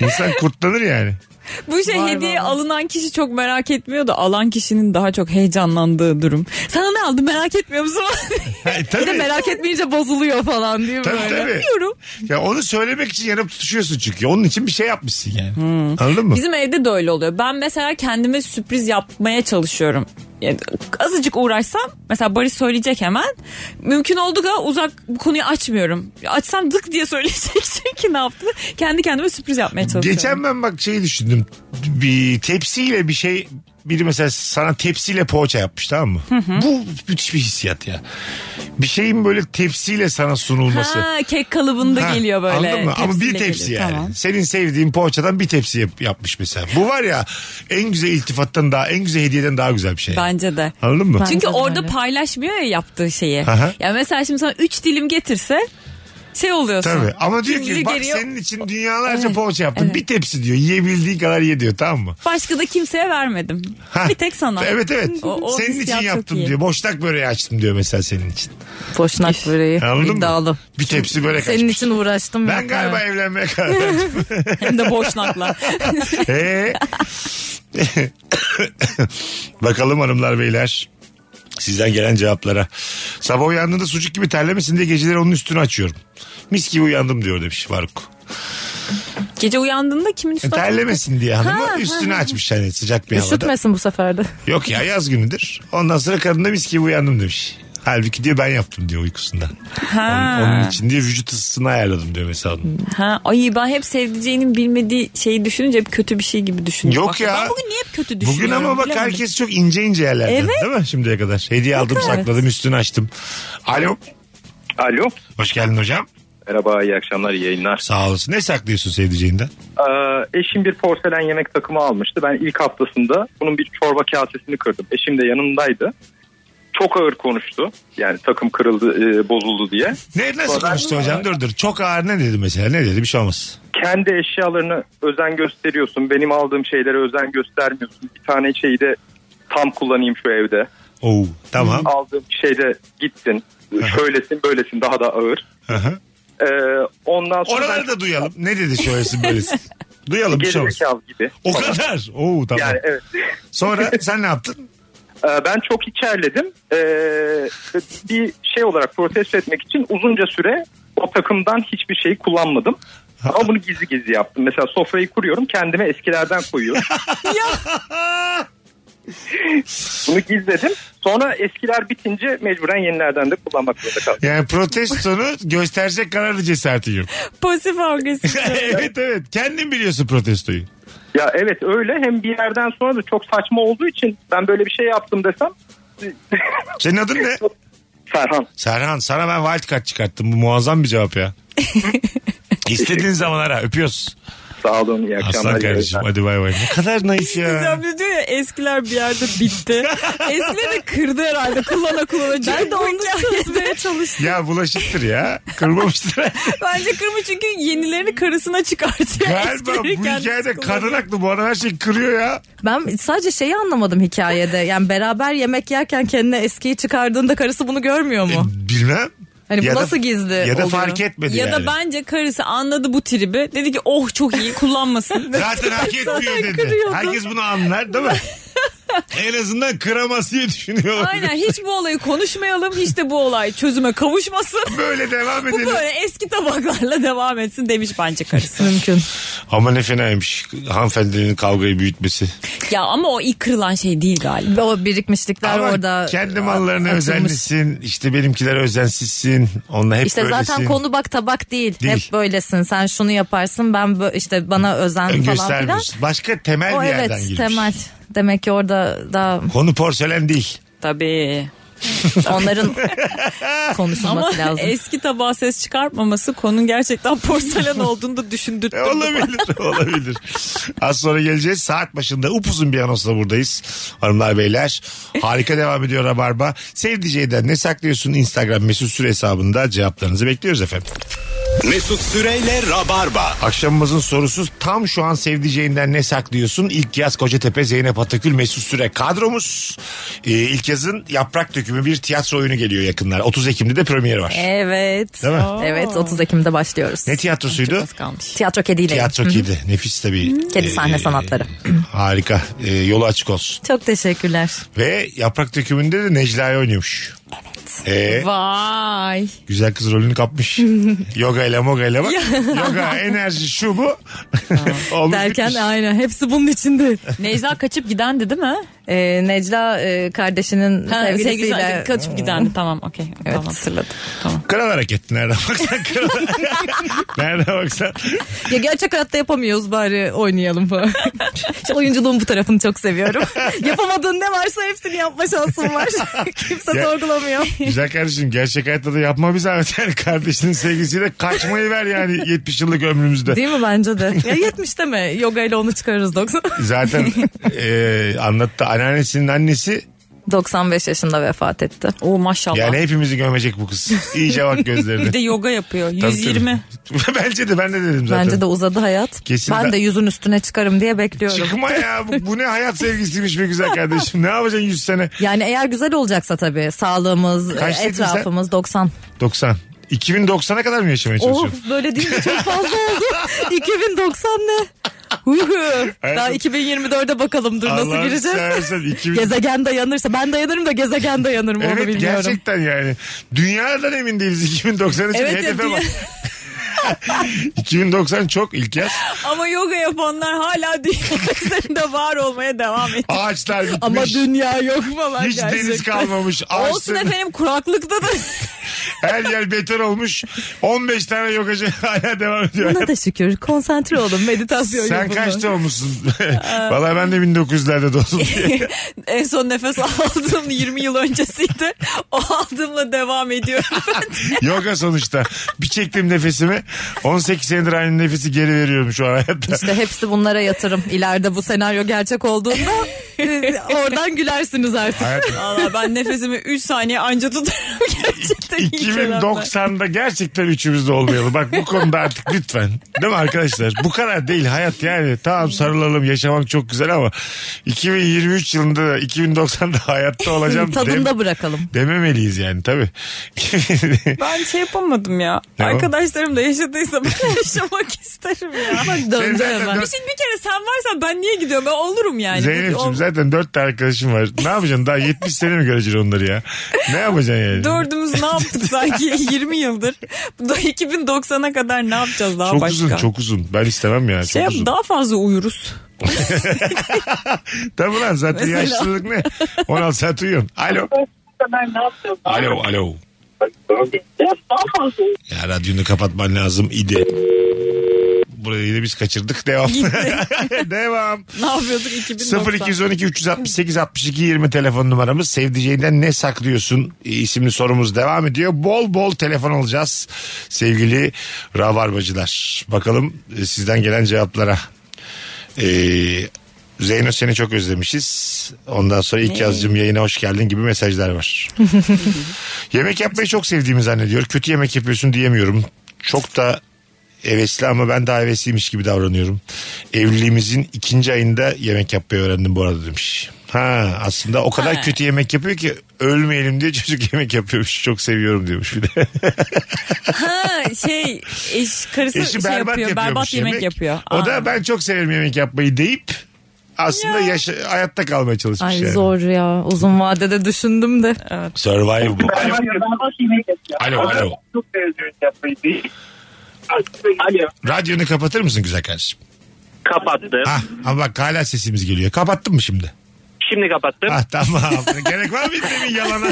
Speaker 3: İnsan kurtlanır yani.
Speaker 4: Bu şey hediye alınan kişi çok merak etmiyor da alan kişinin daha çok heyecanlandığı durum. Sana ne aldın merak etmiyor musun?
Speaker 3: Ha, tabii.
Speaker 5: Bir de merak etmeyince bozuluyor falan diye
Speaker 3: Tabii,
Speaker 5: böyle.
Speaker 3: tabii.
Speaker 4: Bilmiyorum.
Speaker 3: Ya onu söylemek için yanıp tutuşuyorsun çünkü. Onun için bir şey yapmışsın yani.
Speaker 5: Hmm.
Speaker 3: Anladın mı?
Speaker 4: Bizim evde de öyle oluyor. Ben mesela kendime sürpriz yapmaya çalışıyorum. Yani azıcık uğraşsam mesela Barış söyleyecek hemen. Mümkün olduğu kadar uzak bu konuyu açmıyorum. Açsam dık diye söyleyecek çünkü ne yaptı? Kendi kendime sürpriz yapmaya çalışıyorum.
Speaker 3: Geçen ben bak şeyi düşündüm. Bir tepsiyle bir şey biri mesela sana tepsiyle poğaça yapmış tamam mı? Bu müthiş bir hissiyat ya. Bir şeyin böyle tepsiyle sana sunulması.
Speaker 4: Ha, kek kalıbında
Speaker 3: Ha,
Speaker 4: geliyor böyle.
Speaker 3: Anladın mı? Ama bir
Speaker 4: Tepsiyle
Speaker 3: tepsi
Speaker 4: geliyor.
Speaker 3: yani.
Speaker 4: Tamam.
Speaker 3: Senin sevdiğin poğaçadan bir tepsi yap- yapmış mesela. Bu var ya en güzel iltifattan daha en güzel hediyeden daha güzel bir şey.
Speaker 4: Bence de.
Speaker 3: Anladın mı?
Speaker 5: Ben-
Speaker 4: Çünkü
Speaker 5: Bence de
Speaker 4: orada
Speaker 5: öyle.
Speaker 4: paylaşmıyor ya yaptığı şeyi.
Speaker 3: Aha.
Speaker 4: Ya mesela şimdi sana 3 dilim getirse şey oluyorsun.
Speaker 3: Tabii ama diyor
Speaker 4: Üzülü
Speaker 3: ki bak
Speaker 4: geliyor.
Speaker 3: senin için dünyalarca poğaça yaptım. Bir tepsi diyor. Yiyebildiğin kadar ye diyor tamam mı?
Speaker 4: Başka da kimseye vermedim.
Speaker 3: Ha.
Speaker 4: Bir tek sana.
Speaker 3: Evet evet.
Speaker 4: O- o
Speaker 3: senin için
Speaker 4: hissiyat çok
Speaker 3: yaptım
Speaker 4: iyi.
Speaker 3: diyor. Boşnak böreği açtım diyor mesela senin için.
Speaker 5: Boşnak böreği.
Speaker 3: Anladın
Speaker 5: iddialı.
Speaker 3: mı? Bir tepsi börek
Speaker 5: Senin
Speaker 3: açmış.
Speaker 5: için uğraştım.
Speaker 3: Ben
Speaker 5: yapma.
Speaker 3: galiba evlenmeye karar verdim.
Speaker 4: Hem de boşnakla.
Speaker 3: Ee? Bakalım hanımlar beyler. Sizden gelen cevaplara. Sabah uyandığında sucuk gibi terlemesin diye geceleri onun üstünü açıyorum. Mis gibi uyandım diyor demiş Faruk. E,
Speaker 4: Gece uyandığında kimin üstüne
Speaker 3: Terlemesin diye hanımı üstünü açmış hani sıcak bir havada.
Speaker 5: Üşütmesin bu sefer de.
Speaker 3: Yok ya yaz günüdür. Ondan sonra kadın da mis gibi uyandım demiş. Halbuki diyor ben yaptım diyor uykusundan. Onun, onun için diye vücut ısısını ayarladım diyor mesela. onun.
Speaker 4: Ha, ay ben hep sevdiceğinin bilmediği şeyi düşününce hep kötü bir şey gibi düşünüyorum.
Speaker 3: Yok
Speaker 4: Bak,
Speaker 3: ya.
Speaker 4: Ben bugün niye hep kötü
Speaker 3: Bugün
Speaker 4: düşünüyorum?
Speaker 3: ama bak
Speaker 4: bilemedim.
Speaker 3: herkes çok ince ince yerlerde.
Speaker 4: Evet.
Speaker 3: Değil mi şimdiye kadar? Hediye aldım
Speaker 4: evet.
Speaker 3: sakladım üstünü açtım. Alo.
Speaker 6: Alo.
Speaker 3: Hoş geldin hocam.
Speaker 6: Merhaba iyi akşamlar iyi yayınlar.
Speaker 3: Sağ olasın. Ne saklıyorsun sevdiceğinden?
Speaker 6: Ee, eşim bir porselen yemek takımı almıştı. Ben ilk haftasında bunun bir çorba kasesini kırdım. Eşim de yanımdaydı. Çok ağır konuştu. Yani takım kırıldı, e, bozuldu diye.
Speaker 3: Ne nasıl
Speaker 6: Sonra-
Speaker 3: konuştu hocam? Dur dur. Çok ağır ne dedi mesela? Ne dedi? Bir şey olmaz.
Speaker 6: Kendi eşyalarına özen gösteriyorsun. Benim aldığım şeylere özen göstermiyorsun. Bir tane şeyi de tam kullanayım şu evde.
Speaker 3: Oo tamam.
Speaker 6: Aldığım şeyde gittin. Şöylesin böylesin daha da ağır.
Speaker 3: Hı hı.
Speaker 6: Ee, ondan sonra
Speaker 3: Oraları da duyalım. Ne dedi şöylesin böylesin? duyalım bir şey olmaz.
Speaker 6: gerizekalı gibi.
Speaker 3: O kadar. Oo tamam.
Speaker 6: Yani evet.
Speaker 3: Sonra sen ne yaptın?
Speaker 6: Ee, Ben çok içerledim. Ee, bir şey olarak protesto etmek için uzunca süre o takımdan hiçbir şeyi kullanmadım. Ama bunu gizli gizli yaptım. Mesela sofrayı kuruyorum kendime eskilerden koyuyorum. bunu gizledim. Sonra eskiler bitince mecburen yenilerden de kullanmak zorunda kaldım.
Speaker 3: Yani protestonu gösterecek kadar da cesaretin yok.
Speaker 4: Pasif agresif.
Speaker 3: evet evet. Kendin biliyorsun protestoyu.
Speaker 6: Ya evet öyle hem bir yerden sonra da çok saçma olduğu için ben böyle bir şey yaptım desem
Speaker 3: Senin adın ne?
Speaker 6: Serhan.
Speaker 3: Serhan sana ben wild card çıkarttım. Bu muazzam bir cevap ya. İstediğin zaman ara öpüyoruz.
Speaker 6: Sağ olun iyi akşamlar.
Speaker 3: Aslan kardeşim hadi bay bay. Ne kadar nice ya.
Speaker 4: Gizemli diyor ya eskiler bir yerde bitti. Eskileri kırdı herhalde kullana kullana. Ben de onu çözmeye çalıştım.
Speaker 3: ya bulaşıktır ya. Kırmamıştır.
Speaker 4: Bence kırmış çünkü yenilerini karısına çıkartıyor.
Speaker 3: Galiba bu
Speaker 4: Eskileri kendisi
Speaker 3: hikayede
Speaker 4: kullanıyor.
Speaker 3: kadın haklı. Bu adam her şeyi kırıyor ya.
Speaker 5: Ben sadece şeyi anlamadım hikayede. Yani beraber yemek yerken kendine eskiyi çıkardığında karısı bunu görmüyor
Speaker 3: E,
Speaker 5: mu?
Speaker 3: bilmem.
Speaker 5: Hani bu
Speaker 3: Ya da-
Speaker 5: nasıl gizli
Speaker 3: Ya da
Speaker 5: oluyor?
Speaker 3: fark etmedi
Speaker 4: E, Ya
Speaker 3: yani.
Speaker 4: da bence karısı anladı bu tribi. Dedi ki oh çok iyi kullanmasın.
Speaker 3: Zaten hak etmiyor dedi.
Speaker 4: kırıyordu.
Speaker 3: Herkes bunu anlar değil mi? en azından kıramaz diye düşünüyor.
Speaker 4: Aynen hiç bu olayı konuşmayalım. Hiç de bu olay çözüme kavuşmasın.
Speaker 3: Böyle devam
Speaker 4: Bu
Speaker 3: edelim.
Speaker 4: böyle eski tabaklarla devam etsin demiş bence karısı.
Speaker 5: Mümkün.
Speaker 3: Ama ne fenaymış hanımefendinin kavgayı büyütmesi.
Speaker 4: ya ama o ilk kırılan şey değil galiba.
Speaker 5: Ve O birikmişlikler
Speaker 3: Ama
Speaker 5: orada.
Speaker 3: kendi mallarına
Speaker 5: atılmış.
Speaker 3: özenlisin. işte benimkiler özensizsin. Onunla hep
Speaker 5: İşte
Speaker 3: böylesin.
Speaker 5: zaten konu bak tabak değil.
Speaker 3: Değil.
Speaker 5: Hep böylesin. Sen şunu yaparsın ben bö- işte bana özen falan filan.
Speaker 3: göstermiş. Başka temel
Speaker 5: O
Speaker 3: bir yerden
Speaker 5: evet
Speaker 3: girmiş.
Speaker 5: temel. Demek ki orada daha
Speaker 3: Konu porselen değil.
Speaker 4: Tabii.
Speaker 5: onların konuşulması
Speaker 4: Ama
Speaker 5: lazım.
Speaker 4: eski tabağa ses çıkartmaması konunun gerçekten porselen olduğunu da düşündürttü.
Speaker 3: E, olabilir, olabilir. Az sonra geleceğiz. Saat başında upuzun bir anonsla buradayız. Hanımlar beyler. Harika devam ediyor Rabarba. Sevdiceğinden ne saklıyorsun? Instagram mesut süre hesabında cevaplarınızı bekliyoruz efendim.
Speaker 2: Mesut Süreyle Rabarba.
Speaker 3: Akşamımızın sorusu tam şu an sevdiceğinden ne saklıyorsun? İlk yaz Kocatepe Zeynep Atakül Mesut Süre kadromuz. Ee, ilk yazın yaprak dökümü bir tiyatro oyunu geliyor yakınlar. 30 Ekim'de de premieri var.
Speaker 5: Evet.
Speaker 3: Değil mi?
Speaker 5: Evet 30 Ekim'de başlıyoruz.
Speaker 3: Ne tiyatrosuydu?
Speaker 4: Az kalmış.
Speaker 5: Tiyatro kediyle.
Speaker 3: Tiyatro kedi. Nefis tabii.
Speaker 5: Kedi sahne
Speaker 3: Ee,
Speaker 5: sanatları.
Speaker 3: Harika. Ee, yolu açık olsun.
Speaker 5: Çok teşekkürler.
Speaker 3: Ve yaprak dökümünde de Necla'yı oynuyormuş. Evet.
Speaker 4: Vay.
Speaker 3: güzel kız rolünü kapmış. Yoga ile moga ile bak. Yoga, enerji şu bu. Olmuş
Speaker 5: Derken
Speaker 3: bitmiş.
Speaker 5: aynen hepsi bunun içinde.
Speaker 4: Necla kaçıp gidendi değil mi?
Speaker 5: Ee, Necla e, kardeşinin
Speaker 4: Ha,
Speaker 5: sevgilisiyle
Speaker 4: sevgilisi- kaçıp gidendi. Tamam okey. Tamam hatırladım. Tamam.
Speaker 3: Kral hareket. Nereden baksan kral. Nereden baksan.
Speaker 5: ya gerçek hayatta yapamıyoruz bari oynayalım falan. Şu oyunculuğun bu tarafını çok seviyorum. Yapamadığın ne varsa hepsini yapma şansın var. Kimse
Speaker 3: Ya-
Speaker 5: sorgulamıyor.
Speaker 3: Güzel kardeşim gerçek hayatta da yapma bir zahmet. Yani kardeşinin sevgisiyle kaçmayı ver yani 70 yıllık ömrümüzde.
Speaker 5: Değil mi bence de? Ya 70 deme. Yoga ile onu çıkarırız 90.
Speaker 3: Zaten e, anlattı anneannesinin annesi
Speaker 5: 95 yaşında vefat etti.
Speaker 4: Oo maşallah.
Speaker 3: yani hepimizi gömecek bu kız. İyice bak gözlerine.
Speaker 4: Bir de yoga yapıyor.
Speaker 3: Tabii,
Speaker 4: 120.
Speaker 3: tabii. Bence de ben de dedim zaten.
Speaker 5: Bence de uzadı hayat.
Speaker 3: Kesin ben-
Speaker 5: ben de yüzün üstüne çıkarım diye bekliyorum.
Speaker 3: Çıkma ya bu, bu ne hayat sevgisiymiş be güzel kardeşim. Ne yapacaksın 100 sene?
Speaker 5: Yani eğer güzel olacaksa tabii sağlığımız,
Speaker 3: Kaç dedin
Speaker 5: etrafımız 90.
Speaker 3: 90. 2090'a kadar mı yaşamaya
Speaker 5: Oh
Speaker 3: çalışıyorsun?
Speaker 5: böyle deyince çok fazla oldu. 2090 ne? Huhu. Daha 2024'e bakalım dur nasıl
Speaker 3: Allah'ını
Speaker 5: gireceğiz.
Speaker 3: seversen 2000...
Speaker 5: Gezegen dayanırsa ben dayanırım da gezegen dayanır mı onu
Speaker 3: Evet
Speaker 5: bilmiyorum.
Speaker 3: gerçekten yani. Dünyadan emin değiliz 2090 için
Speaker 4: Evet, ya,
Speaker 3: hedefe
Speaker 4: dünya-
Speaker 3: bak. 2090 çok ilk yaz.
Speaker 4: Ama yoga yapanlar hala dünya üzerinde var olmaya devam ediyor.
Speaker 3: Ağaçlar bitmiş.
Speaker 5: Ama dünya yok falan
Speaker 3: hiç
Speaker 5: gerçekten.
Speaker 3: deniz kalmamış.
Speaker 4: Olsun
Speaker 3: Ağaçlar,
Speaker 4: efendim kuraklıkta da.
Speaker 3: her yer beter olmuş. 15 tane yokacı hala devam ediyor.
Speaker 5: Buna da şükür konsantre olun meditasyon
Speaker 3: Sen
Speaker 5: yapın.
Speaker 3: kaçta olmuşsun? Vallahi ben de 1900'lerde doğdum diye.
Speaker 4: en son nefes aldığım 20 yıl öncesiydi. O aldığımla devam ediyor.
Speaker 3: Yoga sonuçta. Bir çektim nefesimi. 18 senedir aynı nefesi geri veriyorum şu an hayatta.
Speaker 5: İşte hepsi bunlara yatırım. İleride bu senaryo gerçek olduğunda e, oradan gülersiniz artık.
Speaker 3: Hayat-
Speaker 4: Valla ben nefesimi 3 saniye anca tutarım gerçekten. iyi kenarlar.
Speaker 3: 2090'da gerçekten üçümüz de olmayalım. Bak bu konuda artık lütfen. Değil mi arkadaşlar? Bu kadar değil hayat yani. Tamam sarılalım yaşamak çok güzel ama 2023 yılında da 2090'da hayatta olacağım dem-
Speaker 5: Tadında bırakalım.
Speaker 3: dememeliyiz yani tabii.
Speaker 4: Ben şey yapamadım ya.
Speaker 3: Ne o?
Speaker 4: Arkadaşlarım da yaşadıysa ben yaşamak isterim ya.
Speaker 3: Sen
Speaker 5: Döndü
Speaker 3: zaten
Speaker 5: hemen.
Speaker 3: dört-
Speaker 4: Bir şey bir kere sen varsan ben niye gidiyorum? Ben olurum yani.
Speaker 3: Zeynep'ciğim zaten dört tane arkadaşım var. Ne yapacaksın? Daha 70 sene mi göreceksin onları ya? Ne yapacaksın yani?
Speaker 4: Dördümüz ne yaptık sanki 20 yıldır? Bu da 2090'a kadar ne yapacağız daha
Speaker 3: Çok
Speaker 4: başka?
Speaker 3: uzun çok uzun. Ben istemem ya.
Speaker 4: Şey
Speaker 3: çok
Speaker 4: yap,
Speaker 3: uzun.
Speaker 4: daha fazla uyuruz.
Speaker 3: Tabii lan zaten
Speaker 4: Mesela.
Speaker 3: yaşlılık ne? 16 saat uyuyorsun. Alo.
Speaker 7: ne yapacağız?
Speaker 3: Alo alo.
Speaker 7: Daha fazla
Speaker 3: Ya radyonu kapatman lazım idi. Burayı yine biz kaçırdık. Devam. Devam.
Speaker 4: Ne yapıyorduk 2090?
Speaker 3: 0212 368 62 20 telefon numaramız. Sevdiceğinden ne saklıyorsun E, isimli sorumuz devam ediyor. Bol bol telefon alacağız sevgili rabarbacılar. Bakalım e, sizden gelen cevaplara. Ee, Zeyno seni çok özlemişiz. Ondan sonra ilk yazcım yayına hoş geldin gibi mesajlar var. yemek yapmayı çok sevdiğimi zannediyor. Kötü yemek yapıyorsun diyemiyorum. Çok da hevesli ama ben daha hevesliymiş gibi davranıyorum. Evliliğimizin ikinci ayında yemek yapmayı öğrendim bu arada demiş. Ha aslında o kadar
Speaker 4: Ha.
Speaker 3: kötü yemek yapıyor ki ölmeyelim diye çocuk yemek yapıyormuş. Çok seviyorum diyormuş bir de.
Speaker 4: Ha şey eş karısı
Speaker 3: Eşi
Speaker 4: şey
Speaker 3: berbat
Speaker 4: yapıyor. Berbat
Speaker 3: yapıyormuş
Speaker 4: yemek, yapıyor.
Speaker 3: O
Speaker 4: Aa.
Speaker 3: da ben çok severim yemek yapmayı deyip aslında yaşa- hayatta kalmaya çalışmış
Speaker 5: Ay
Speaker 3: yani.
Speaker 5: zor ya. Uzun vadede düşündüm de.
Speaker 3: Survive bu. Alo. Alo, alo.
Speaker 8: Alo.
Speaker 3: Radyonu kapatır mısın güzel kardeşim?
Speaker 8: Kapattım.
Speaker 3: Ah ama bak hala sesimiz geliyor. Kapattın mı şimdi?
Speaker 8: Şimdi kapattım.
Speaker 3: Ah tamam. Gerek var mıydı demin yalana?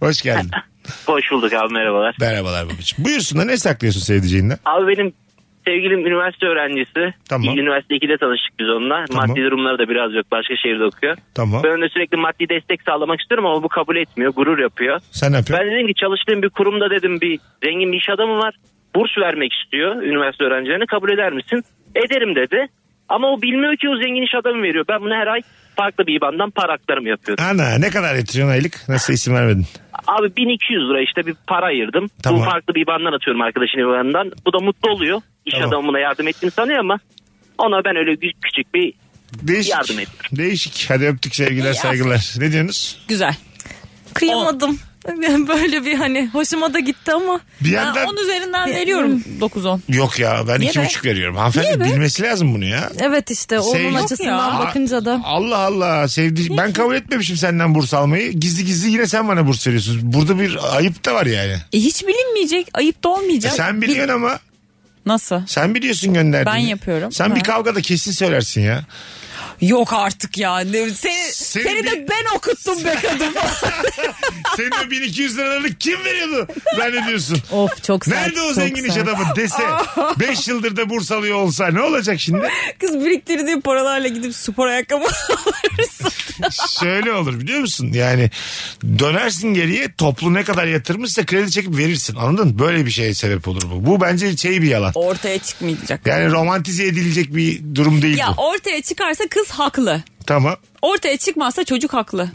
Speaker 3: Hoş geldin.
Speaker 8: Hoş bulduk abi merhabalar.
Speaker 3: Merhabalar babacığım. Buyursun da ne saklıyorsun sevdiceğinden?
Speaker 8: Abi benim sevgilim üniversite öğrencisi.
Speaker 3: Tamam.
Speaker 8: Üniversite 2'de tanıştık biz onunla.
Speaker 3: Tamam.
Speaker 8: Maddi durumları da biraz yok. Başka şehirde okuyor.
Speaker 3: Tamam.
Speaker 8: Ben ona sürekli maddi destek sağlamak istiyorum ama bu kabul etmiyor. Gurur yapıyor.
Speaker 3: Sen ne yapıyorsun?
Speaker 8: Ben dedim ki çalıştığım bir kurumda dedim bir zengin bir iş adamı var. Burs vermek istiyor üniversite öğrencilerine kabul eder misin? Ederim dedi. Ama o bilmiyor ki o zengin iş adamı veriyor. Ben bunu her ay farklı bir IBAN'dan para aktarımı yapıyorum.
Speaker 3: Ana ne kadar yatırıyorsun aylık? Nasıl isim vermedin?
Speaker 8: Abi 1200 lira işte bir para ayırdım.
Speaker 3: Tamam.
Speaker 8: Bu farklı bir IBAN'dan atıyorum arkadaşın IBAN'dan. Bu da mutlu oluyor. İş
Speaker 3: Tamam.
Speaker 8: adamı buna yardım ettiğini sanıyor ama ona ben öyle gü- küçük bir
Speaker 3: Değişik.
Speaker 8: Yardım ediyorum.
Speaker 3: Değişik. Hadi öptük sevgiler
Speaker 4: İyi,
Speaker 3: saygılar. Ne diyorsunuz?
Speaker 4: Güzel.
Speaker 5: Kıyamadım. Böyle bir hani hoşuma da gitti ama.
Speaker 3: Bir
Speaker 4: Ben
Speaker 3: yandan
Speaker 4: 10 üzerinden veriyorum
Speaker 5: hmm.
Speaker 4: 9-10.
Speaker 3: Yok ya ben
Speaker 4: Niye
Speaker 3: iki
Speaker 4: be?
Speaker 3: buçuk veriyorum. Hanımefendi bilmesi lazım bunu ya.
Speaker 5: Evet işte onun
Speaker 3: Sevgi-
Speaker 5: açısından
Speaker 3: Aa,
Speaker 5: bakınca da.
Speaker 3: Allah Allah sevdi. Ben kabul etmemişim senden burs almayı. Gizli gizli yine sen bana burs veriyorsun. Burada bir ayıp da var yani.
Speaker 4: E, hiç bilinmeyecek. Ayıp da
Speaker 3: E
Speaker 4: olmayacak.
Speaker 3: sen biliyorsun ama
Speaker 4: Nasıl?
Speaker 3: sen biliyorsun gönderdiğini.
Speaker 4: Ben yapıyorum.
Speaker 3: Sen
Speaker 4: Ha.
Speaker 3: bir kavgada kesin söylersin ya.
Speaker 4: Yok artık ya. Ne- Seni,
Speaker 3: Seni
Speaker 4: seni,
Speaker 3: bir-
Speaker 4: de ben okuttum be kadın.
Speaker 3: Senin o 1200 liralarını kim veriyordu? Ben ne diyorsun?
Speaker 5: Of çok sert.
Speaker 3: Nerede o
Speaker 5: çok
Speaker 3: zengin iş
Speaker 5: sert.
Speaker 3: adamı dese 5 yıldır da burs alıyor olsa ne olacak şimdi?
Speaker 4: Kız biriktirdiği paralarla gidip spor ayakkabı alırsın.
Speaker 3: Şöyle olur biliyor musun? Yani dönersin geriye toplu ne kadar yatırmışsa kredi çekip verirsin. Anladın mı? Böyle bir şeye sebep olur bu. Bu bence şey bir yalan.
Speaker 4: Ortaya çıkmayacak.
Speaker 3: Yani romantize edilecek bir durum değil
Speaker 4: Ya
Speaker 3: bu.
Speaker 4: ortaya çıkarsa kız haklı.
Speaker 3: Tamam.
Speaker 4: Ortaya çıkmazsa çocuk haklı.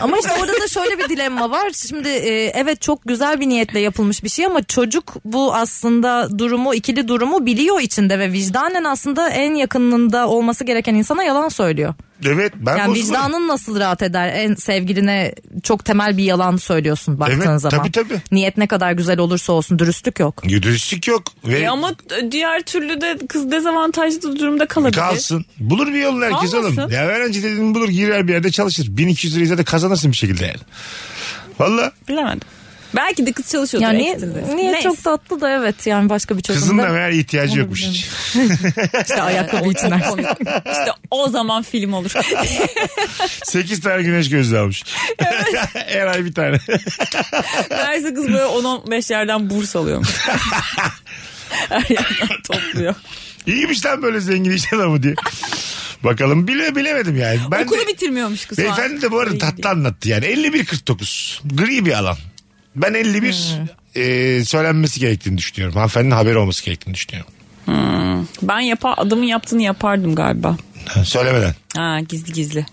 Speaker 5: Ama işte orada da şöyle bir dilemma var. Şimdi e, evet çok güzel bir niyetle yapılmış bir şey ama çocuk bu aslında durumu ikili durumu biliyor içinde ve vicdanen aslında en yakınında olması gereken insana yalan söylüyor.
Speaker 3: Evet ben
Speaker 5: Yani
Speaker 3: bozulurum.
Speaker 5: vicdanın nasıl rahat eder? En sevgiline çok temel bir yalan söylüyorsun baktığın
Speaker 3: Evet,
Speaker 5: zaman.
Speaker 3: tabii, tabii.
Speaker 5: Niyet ne kadar güzel olursa olsun dürüstlük yok.
Speaker 3: Dürüstlük yok. Ve
Speaker 4: E ama diğer türlü de kız dezavantajlı durumda kalabilir.
Speaker 3: kalsın. Bulur bir yolunu herkes
Speaker 4: Kalmasın.
Speaker 3: oğlum. Ya öğrenci dediğin bulur girer bir yerde çalışır. 1200 lirayı zaten kazanırsın bir şekilde yani. Valla
Speaker 4: Bilemedim. Belki de kız çalışıyordur.
Speaker 5: Yani niye,
Speaker 4: ekstradan.
Speaker 5: niye
Speaker 4: Neyse.
Speaker 5: çok tatlı da evet yani başka bir çözüm
Speaker 3: kızın da
Speaker 5: de-
Speaker 3: meğer ihtiyacı yokmuş hiç.
Speaker 5: işte ayakkabı için her şey.
Speaker 4: İşte o zaman film olur.
Speaker 3: 8 tane güneş gözlüğü almış. Her ay bir tane.
Speaker 4: Derse kız böyle 10-15 yerden burs alıyormuş. Her yerden topluyor.
Speaker 3: İyiymiş lan böyle zengin iş adamı diye. Bakalım bile bilemedim yani. Ben
Speaker 4: Okulu
Speaker 3: de-
Speaker 4: bitirmiyormuş kız. falan.
Speaker 3: Beyefendi de bu arada
Speaker 4: Öyle
Speaker 3: tatlı
Speaker 4: gidiyor.
Speaker 3: anlattı yani. 51-49 gri bir alan. Ben 51 e, söylenmesi gerektiğini düşünüyorum. Hanımefendinin haberi olması gerektiğini düşünüyorum.
Speaker 4: Ben yapa adamın yaptığını yapardım galiba.
Speaker 3: Ha, Söylemeden.
Speaker 4: Ha gizli gizli.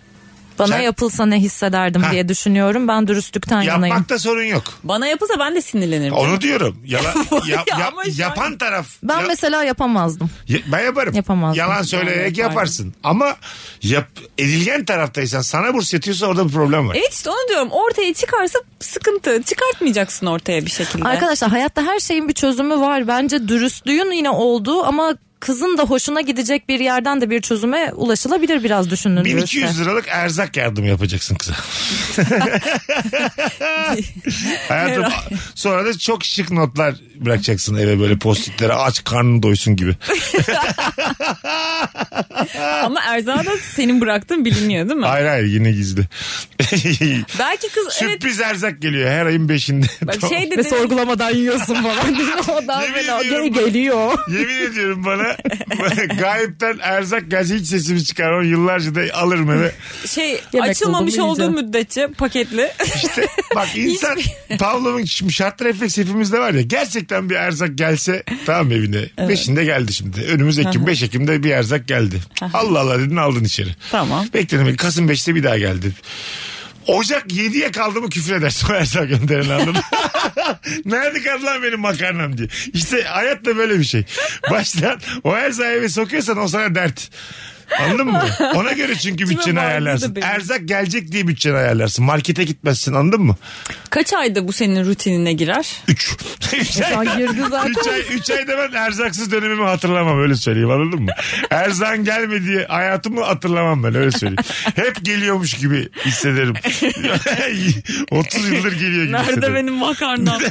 Speaker 5: Bana
Speaker 3: Sen-
Speaker 5: yapılsa ne hissederdim diye düşünüyorum. Ben dürüstlükten yanayım.
Speaker 3: Yapmakta sorun yok.
Speaker 4: Bana yapılsa ben de sinirlenirim.
Speaker 3: Onu diyorum. Yala, yap-
Speaker 4: Ya
Speaker 3: yap-
Speaker 4: ama şu an-
Speaker 3: yapan taraf.
Speaker 5: Ben
Speaker 3: Ya-
Speaker 5: mesela yapamazdım.
Speaker 3: Ya- ben yaparım.
Speaker 5: Yapamazdım.
Speaker 3: Yalan söyleyerek yaparsın. Ama yap, edilgen taraftaysan sana burs yatıyorsa orada bir problem var.
Speaker 4: Evet işte onu diyorum. Ortaya çıkarsa sıkıntı. Çıkartmayacaksın ortaya bir şekilde.
Speaker 5: Arkadaşlar hayatta her şeyin bir çözümü var. Bence dürüstlüğün yine olduğu ama kızın da hoşuna gidecek bir yerden de bir çözüme ulaşılabilir biraz düşünülürse.
Speaker 3: 1200 liralık erzak yardımı yapacaksın kıza. Hayatım sonra da çok şık notlar bırakacaksın eve böyle postitlere aç karnını doysun gibi.
Speaker 4: Ama Erza da senin bıraktığın biliniyor değil mi?
Speaker 3: Hayır hayır yine gizli.
Speaker 4: Belki kız evet
Speaker 3: Sürpriz erzak geliyor her ayın beşinde.
Speaker 4: bak
Speaker 3: Tamam.
Speaker 4: şey
Speaker 5: Ve
Speaker 4: dedi.
Speaker 5: sorgulamadan yiyorsun falan. o daha
Speaker 3: Yemin
Speaker 5: fena.
Speaker 3: ediyorum
Speaker 5: Geri geliyor.
Speaker 3: Yemin ediyorum bana gayipten erzak gelse hiç sesimi çıkarmam. Yıllarca da alırım eve.
Speaker 4: şey
Speaker 5: Yemek
Speaker 4: açılmamış
Speaker 5: buldum,
Speaker 4: olduğu
Speaker 5: yiyeceğim.
Speaker 4: müddetçe paketli.
Speaker 3: İşte bak insan Pavlov'un şimdi şart refleks hepimizde var ya. Gerçekten bir erzak gelse tamam evine. Beşinde geldi şimdi. Önümüz Ekim. 5 Ekim'de bir erzak geldi. Allah Allah dedin aldın içeri.
Speaker 4: Tamam.
Speaker 3: Bekledim. Kasım 5'te bir daha geldi. Ocak 7'ye kaldı mı küfür edersin o erzak gönderen anladın. mı? Nerede kaldı lan benim makarnam diye. İşte hayat da böyle bir şey. Baştan o erzağı eve sokuyorsan o sana dert. Anladın mı? Ona göre çünkü
Speaker 4: Kime
Speaker 3: bütçeni
Speaker 4: bağlı da
Speaker 3: ayarlarsın.
Speaker 4: benim.
Speaker 3: Erzak gelecek diye bütçeni ayarlarsın. Markete gitmezsin anladın mı?
Speaker 4: Kaç ayda bu senin rutinine girer?
Speaker 3: 3. 3 ay,
Speaker 5: Ay girdi zaten.
Speaker 3: üç ay, üç ayda ben erzaksız dönemimi hatırlamam öyle söyleyeyim anladın mı? Erzan gelmediği hayatımı hatırlamam ben öyle söyleyeyim. Hep geliyormuş gibi hissederim. 30 yıldır geliyor gibi
Speaker 4: Nerede
Speaker 3: hissederim.
Speaker 4: benim makarnam?